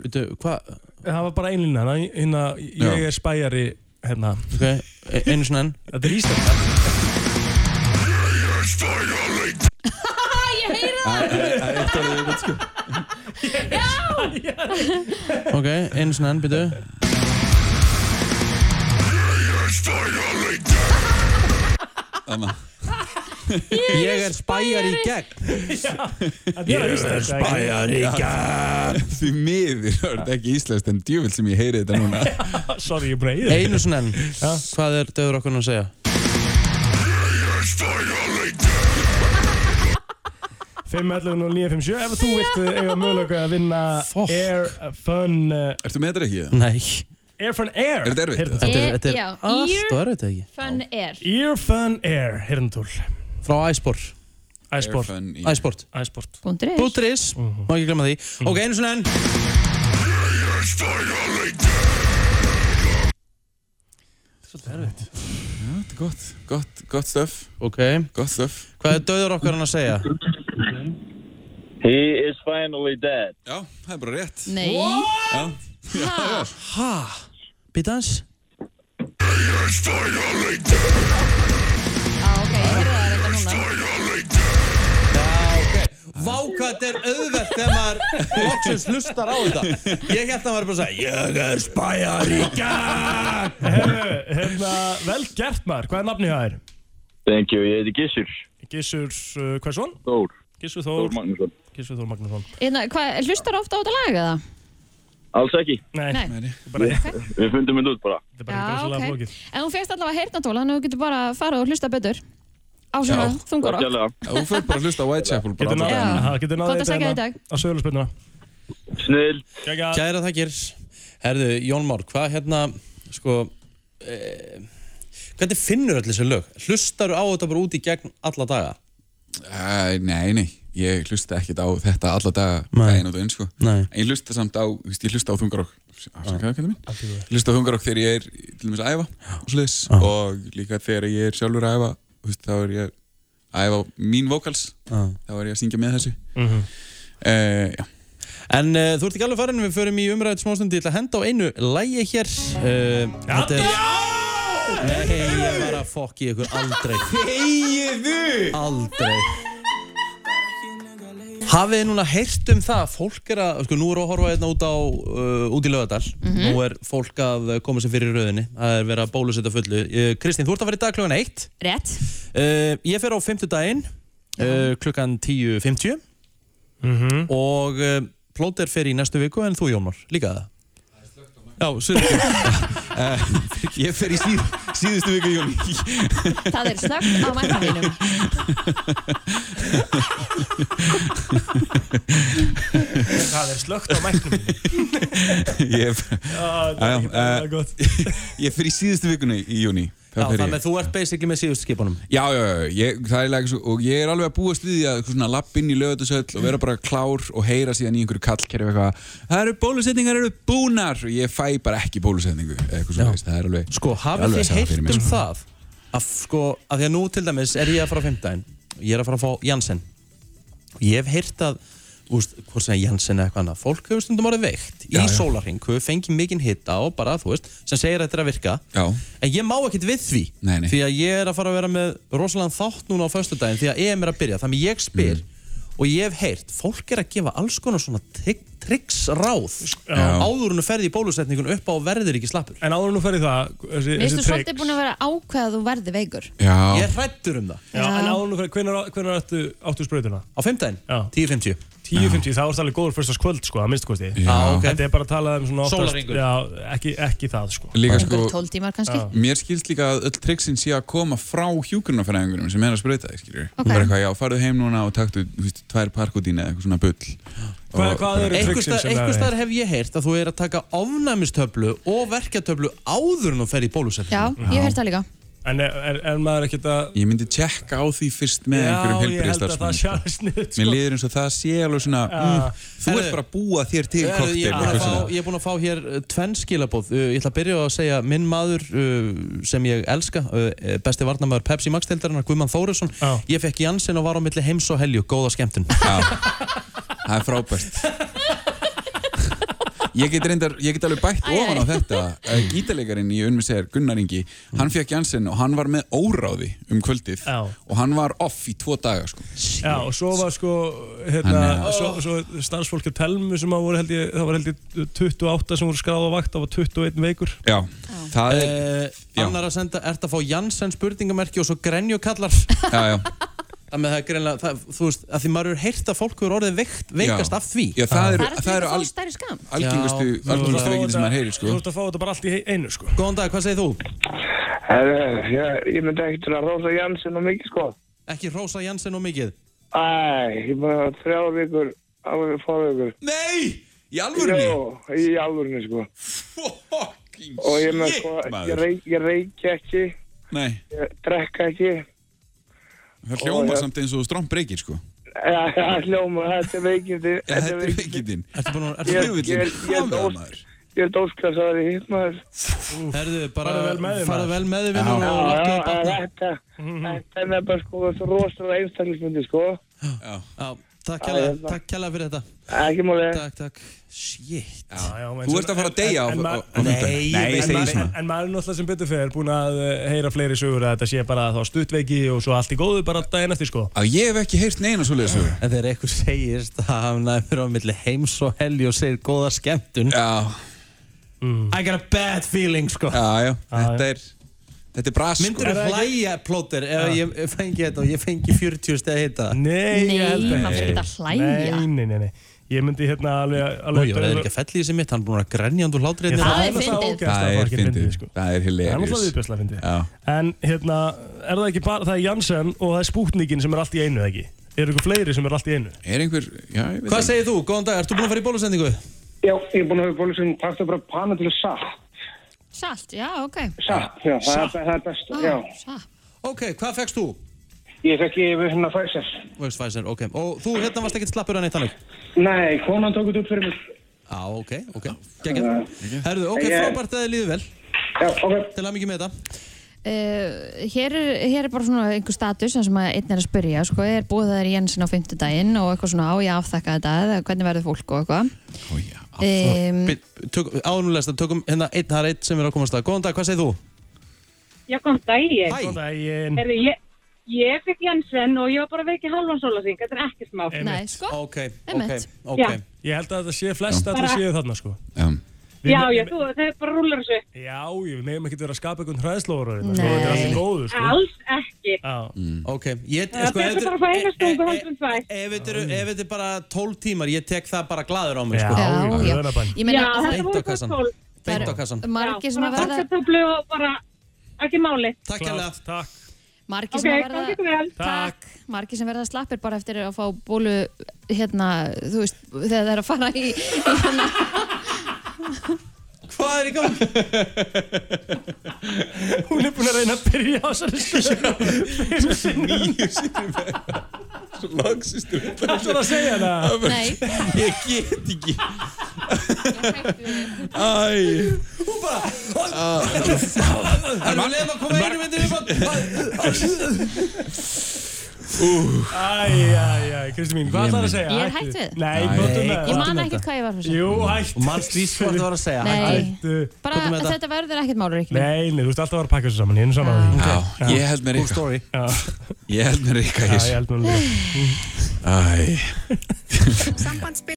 C: Veitu, hvað?
D: Það var bara einlína hérna, hérna, ég er spæjari hérna.
C: Ok, e- einu svona enn.
D: Þetta er Ísland.
O: Ég heyri það
K: Eitt orðið er gott sko
C: Ok, einu svona enn, byrju.
K: Anna.
C: Ég er spæjar í gegn.
K: gegn [laughs] Því miður, það er ekki íslenskt en djúvill sem ég heyri þetta núna
D: Sorry, ég breyði.
C: Einu svona enn. Hvað er döður okkur að segja?
D: ef þú vilt eh, eiga mögulega að vinna Air Fun uh,
K: Ertu með þetta ekki?
C: Nei.
D: Air Fun Air
K: Er þetta erfitt,
D: heyrðu.
K: eða? Þetta
B: er- þetta er Eh, Já, allt ear- og
C: erfitt ekki
B: Fun Air
D: Ear Fun Air, hirndúl
C: Frá Æspor
D: Æspor
C: Æsport
D: Æsport
B: Búndris
C: Búndris Má ekki glemma því Ok, einu svona enn
D: Svolítið erfitt
K: Þetta er gott, gott, gott stöf
C: Ok
K: Gott stöf
C: Hvað er döður okkur að segja?
S: He is finally dead
K: Já, það er bara rétt
B: Nei
K: Já, já, já
C: Ha? Býtans? Vá, hvað þetta er auðvelt þegar maður loksins hlustar á þetta Ég held að maður bara að segja Ég er spæjar í
D: Hérna, vel gert maður, hvað er nafnið það er?
S: Thank you, ég heiti Gissur
D: Gissur, uh, hvað er svon?
S: Þór
D: Gissur Þór
S: Þór Magnússon
D: Gissur Þór Magnússon
B: Hérna, hvað, hlustar ofta á þetta lag eða?
S: Alls ekki
D: Nei,
B: Nei.
D: bara
S: Við fundum þetta út bara
B: Já, ok. En hún fegst allavega heyrnatól, þannig að þú getur bara að fara og hlusta betur á svona
K: Já,
B: þungarokk.
K: Þú fyrir bara að hlusta á Whitechapel bara
D: Getur
K: alla
D: náð-
K: dagana.
D: Já, getur náð
B: Gott að
D: í
B: sækja í
D: hérna
B: dag.
D: Á sögurlöfspilnuna
S: Snill
C: Kæra þakkir Herðu, Jón Már, hvað hérna Sko eh, Hvernig finnur öll þessi lög? Hlustar á þetta bara út í gegn alla daga?
K: Æ, Nei, nei, ég hlusta ekkert á þetta alla daga daginn og daginn sko
C: Nei.
K: En ég hlusta samt á, þú veist, ég hlusta á þungarokk Afsakaðu, kæta mín
D: Allt í góðu.
K: Ég hlusta á þungarokk þegar ég er til dæmis að æfa og sliðis og líka þegar ég er sjálfur að æfa þú veist, þá er ég að æfa mín vokals þá er ég að syngja með þessu
D: [laughs]
C: Mhm.
K: Eh, Já
C: En uh, þú ert ekki alveg farin, við förum í umræðið smástundi, ég ætla að henda á einu lægi hér. Uh, þetta er... Nei, ég var að fokki ykkur aldrei.
K: Þegiðu!
C: Aldrei. Hafið þið núna heyrt um það, fólk er að, sko, nú er að horfa hérna út á, uh, út í Laugardal,
O: Mhm.
C: nú er fólk að uh, koma sér fyrir í rauðinni, það er verið að bólusetja fullu. Uh, Kristín, þú ert að fara í dag klukkan 1, [laughs]
B: Rétt.
C: uh, ég fer á fimmtudaginn, uh, klukkan 10.50 og uh, plóter fer í næstu viku en þú Jónmar, líka það? Já, sörðu uh,
K: Ég fer í síð, síðustu viku í júli
B: Það er slögt á mækkafinum.
D: Það er slögt á mæknum
K: Ég
D: Já,
K: Já,
D: þetta er
K: eh,
D: gott
K: Ég fyrir í síðustu vikunni í júni
C: Já, þannig að þú ert basically með síðust skipunum
K: Já, já, já, ég, það er lega svo og ég er alveg að búast við því að eitthvað svona lapp inn í lögutasöll og vera bara klár og heyra síðan í einhverju kallkerfi eitthvað það eru bólusetningar, eru búnar og ég fæ bara ekki bólusetningu eða eitthvað svona, það er alveg
C: Sko, hafið þið heyrt um það að sko, að því að nú til dæmis er ég að fara á fimmdæn og ég er að fara að fá Janssen og ég hef heyrt að úst, hvort sem er Janssen eða eitthvað annað fólk hefur stundum orðið veikt í sólarhing hefur fengið mikinn hita og bara, þú veist sem segir að þetta er að virka
K: Já.
C: en ég má ekkert við því
K: Nei, nei.
C: því að ég er að fara að vera með rosalega þátt núna á föstudaginn því að EM er að byrja þannig ég spyr
K: Mm.
C: og ég hef heyrt fólk er að gefa alls konar svona trygg tryggs ráð
D: Já.
C: áður en þú ferði í bólusetningun upp á og verður ekki slappur
D: En áður nú ferði það þessi,
B: Mér finnst þú svolítið búin að vera ákveð að þú verði veikur.
K: Já.
C: Ég er hrættur um það
D: Já, en áður nú ferði, hvenær, hvenær áttu, áttu sprautuna?
C: Á 15, 10.50
D: 10.50 þá er það alveg góður fyrstaskvöld sko, að minnst kosti
K: Já, ok.
D: Þetta er bara að tala um svona oftast
K: Sólahringur.
D: Já, ekki, ekki það sko
K: Líka sko,
B: 12 tímar kannski
K: mér skilst líka að öll triksin sé að koma frá hjúkurnafræðingurum sem er að sprauta þig, skilur.
B: Ok.
K: Okay. Bara eitthvað, já, farðu heim núna og taktu, þú veist, tvær parkútín eða eitthvað svona bull.
C: Hvað,
K: Og-
C: hvað eru triksin sem Eitthvað staðar hef ég heyrt að þú er að taka ofnæmistöflu og verkjartöflu áður en þú fer í bólusetning.
B: Já, ég hef hérta líka
D: En er, er, er maður ekkert að
K: Ég myndi tjekka á því fyrst með einhverjum
D: Já,
K: heilbriðstarfsmann.
D: ég held að það sjá sniðut sko.
K: Mér líður eins og það sé alveg svona,
D: Já.
K: mm, þú
C: Herðu,
K: ert bara að búa þér til
C: Herðu,
K: koktel.
C: Ég er búinn að fá- ég er búinn að fá hér uh, tvenn skilabóð. Uh, Ég ætla að byrja á að segja minn maður uh, sem ég elska, uh, besti varnamæður Pepsi Max-deildarinnar, Guðmann Þóresson. Ég fekk Janssen og var á milli heims og helju. Góða skemmtun.
K: Það er frábært. Ég get, reyndar, ég get alveg bætt ofan á þetta Eh, Gítalegarinn í Unmi segir Gunnar Ingi Hann fekk Janssen og hann var með óráði um kvöldið Já. Og hann var off í tvo daga sko.
D: Já, og svo var sko hérna,
K: Þannig að-
D: svo, svo starfsfólk á telmu sem að voru held ég, það var held ég 28 sem voru skráð á vakt, það var 21 veikur
K: Já, það er
C: uh,
K: já.
C: Annar að senda, ert að fá Janssen spurningamerki og svo grenjukallar.
K: Já, já.
C: Það með það er greinlega, það, þú veist, að því maður eru heyrt að fólk eru orðið veikt, veikast
K: Já.
C: af því.
K: Já, það eru-
B: Það er að fá stærri skam
K: algengustu,
C: Já.
K: algengustu
C: Þú-
K: veikindi sem maður heyrir
D: Þú
K: sko.
D: ert að fá þetta bara allt í he- einu sko
C: Góðan dag, hvað segir þú?
T: Herru, ég, ég myndi ekki til að rosa Jansson og mikið sko.
C: Ekki rosa Janssen og mikið?
T: Æ, ég maður að þrjá vikur, alveg fóra vikur.
K: Nei, í
T: alvörni? Jó, í alvörni sko. Fucking Og ég með sko,
K: shit, maður.
T: ég, reik, ég reiki ekki,
K: Nei,
T: ég drekka ekki.
K: það hljóma
T: Ó, já.
K: samt eins og stromp breykir sko.
T: Já, já, hljóma, þetta er veikindi. Þetta er
K: veikindin.
C: Ertu búin að,
T: Ég- ég- ég- ég- Ég er dósklasaði hitt maður.
C: Herðu, bara
T: Farðu vel með þig,
C: farðu
T: maður.
C: vel með þig vinnur og
T: Já, já,
C: lakkaðu í
T: en
C: barna.
T: þetta, þetta er með bara sko, svo rosalega einstaklismyndi sko.
E: [gasps]
K: Já.
E: Oh.
C: Já, takk
T: Já,
C: kjalla,
T: hérna.
C: takk kjalla fyrir þetta.
T: Ekki máli.
C: Takk, takk. Shit.
D: Já, já,
K: Þú ert að fara að deyja á-
D: en- en-
K: á-
D: en-
K: á fimmtudaginn.
D: en-
K: Nei, ég
D: en-
K: segi
D: en-
K: svona.
D: En maður er náttúrulega sem betur fyrir búin að eh, heyra fleiri sögur að þetta sé bara þá stuttveiki og svo allt í góðu bara daginn eftir sko
K: Að ég hef ekki heyrt neina svo lesu
C: En þegar einhver segist að hann næmur á milli heims og helgi og segir góða skemmtun Mm.
K: Já
C: I got a bad feeling sko
K: Já, já, þetta er Þetta er bras sko.
C: Myndur þú hlæja plóter ef ég fengi þetta og ég fengi 40 steg að hitta
D: Ah. Nei, ég held
C: Nei,
D: ekki.
C: maður fer ekki að
B: hlæja.
D: Nei, nei, nei, nei Ég myndi hérna alveg,
C: Nú,
D: alveg
C: ég verði ekki að fella í þessi mitt, hann er búin að grenja hann úr hlátri hérna.
D: Ég, það er Það er náttúrulega fyndið. ógeðslega
K: Það er
D: fucking fyndið,
K: fyndið,
D: sko.
K: það er hilarious
D: Það er náttúrulega viðbjörslega fyndið.
K: Já.
D: En hérna, er það ekki bara, það er Janssen og það er Sputnikin sem er allt í einu, eða ekki? Eru ykkur fleiri sem er allt í einu?
K: Er einhver, já, ég
C: Hvað segir þú? Góðan dag, ertu búin að fara í bólusendingu?
T: Já, ég er búin að hafa bólusinn, takk bara panna til satt.
B: Salt, já, ok Ah,
T: Satt, já, það er- það er best, já.
C: Ok, hvað fekkst þú?
T: Ég fekk ég við hérna Pfizer.
C: Vegs Pfizer, ok. Og þú hérna varst ekkert slappur að neitt þannig?
T: Nei, konan tók þetta upp fyrir mig.
C: Já, ok, ok. Gengið. Herðu, ok,
T: Ég-
C: frábært að þið líður vel.
T: Já, ok.
C: Til að mikið með þetta.
B: Uh, hér, er, hér er bara svona einhver status þar sem að einn er að spyrja sko, er búið það er Jensen á fimmtudaginn og eitthvað svona á ég að afþakka þetta eða hvernig verður fólk og eitthvað um,
C: Áðurnulegast að tökum hérna einn, það er einn sem er að komast að. Góðan dag, hvað segir þú?
L: Já, góðan daginn.
C: Hæ. Góðan
D: daginn.
L: Herðu, ég, ég fekk Jensen og ég var bara veikið halvan sólasing. Þetta er ekkert smá.
D: Nei,
L: sko.
C: Ok, ok,
L: Einmitt.
C: ok.
L: Já.
D: Ég held að þetta sé flest að
L: Bara-
D: þetta séu þarna, sko. Við-
L: Já, já, þú, það er bara rúlar þessu.
D: Já, við meðum ekkert vera að skapa einhvern hræðslóður og
L: Nei.
D: þetta er allt í góðu, sko.
L: Alls ekki.
T: Mm.
C: Ok, ég,
L: Það er
C: sko, ef
L: betur
C: þetta
L: bara að fá eina stungu heldur en tvær.
C: ef þetta eru- ef þetta er bara 12 tímar, ég tek það bara glaður á mig, sko.
B: Já, Já, já. launabann. Ég
L: Já,
B: meina-
L: þetta
C: Beint á
L: voru bara
C: kassann.
L: 12.
C: Beint á kassan.
B: margir sem að
L: verða...
B: verða-
L: Takk töflu og bara, ekki máli.
C: Takk hérlega.
D: Takk.
B: margir
L: Ok,
B: sem að
L: gangi ykkur
B: verða
L: vel.
B: takk, margir sem verða slappir bara eftir að fá bólu hérna, þú veist, þegar það er að fara í, í hérna
C: Hvað er í gangi?
D: [laughs] Hún er búin að reyna að byrja á þessari stöðu. Nýju
K: sinni
D: verða.
K: Svo langsist þú.
D: Ætlarðu að segja það? Nei.
K: Ég get ekki. Æ.
C: Hún bara...
K: Það
C: Erum við leiðum að koma einu myndi upp að...
D: Æjæjæ, Kristi mín, hvað
C: Ég
D: ætlar að
C: minn.
D: segja?
B: Ég er hætt
D: Hættu.
B: við.
D: Nei,
C: Nei,
D: gott um
B: ég man ekkert hvað ég var fyrir
D: Jú, hættu.
C: Manst því hvað þú var að segja?
B: Nei.
D: Hættu.
B: bara þetta. verður ekkert málur ekki
D: Nei, nei, þú veist alltaf að vera að pakka þessu saman, ég er nú saman að því.
K: Já, ég held með Rikka.
D: Já.
K: Ég held með Rikka í
D: Já,
K: þessu.
D: ég held með Rikka.
K: Æ.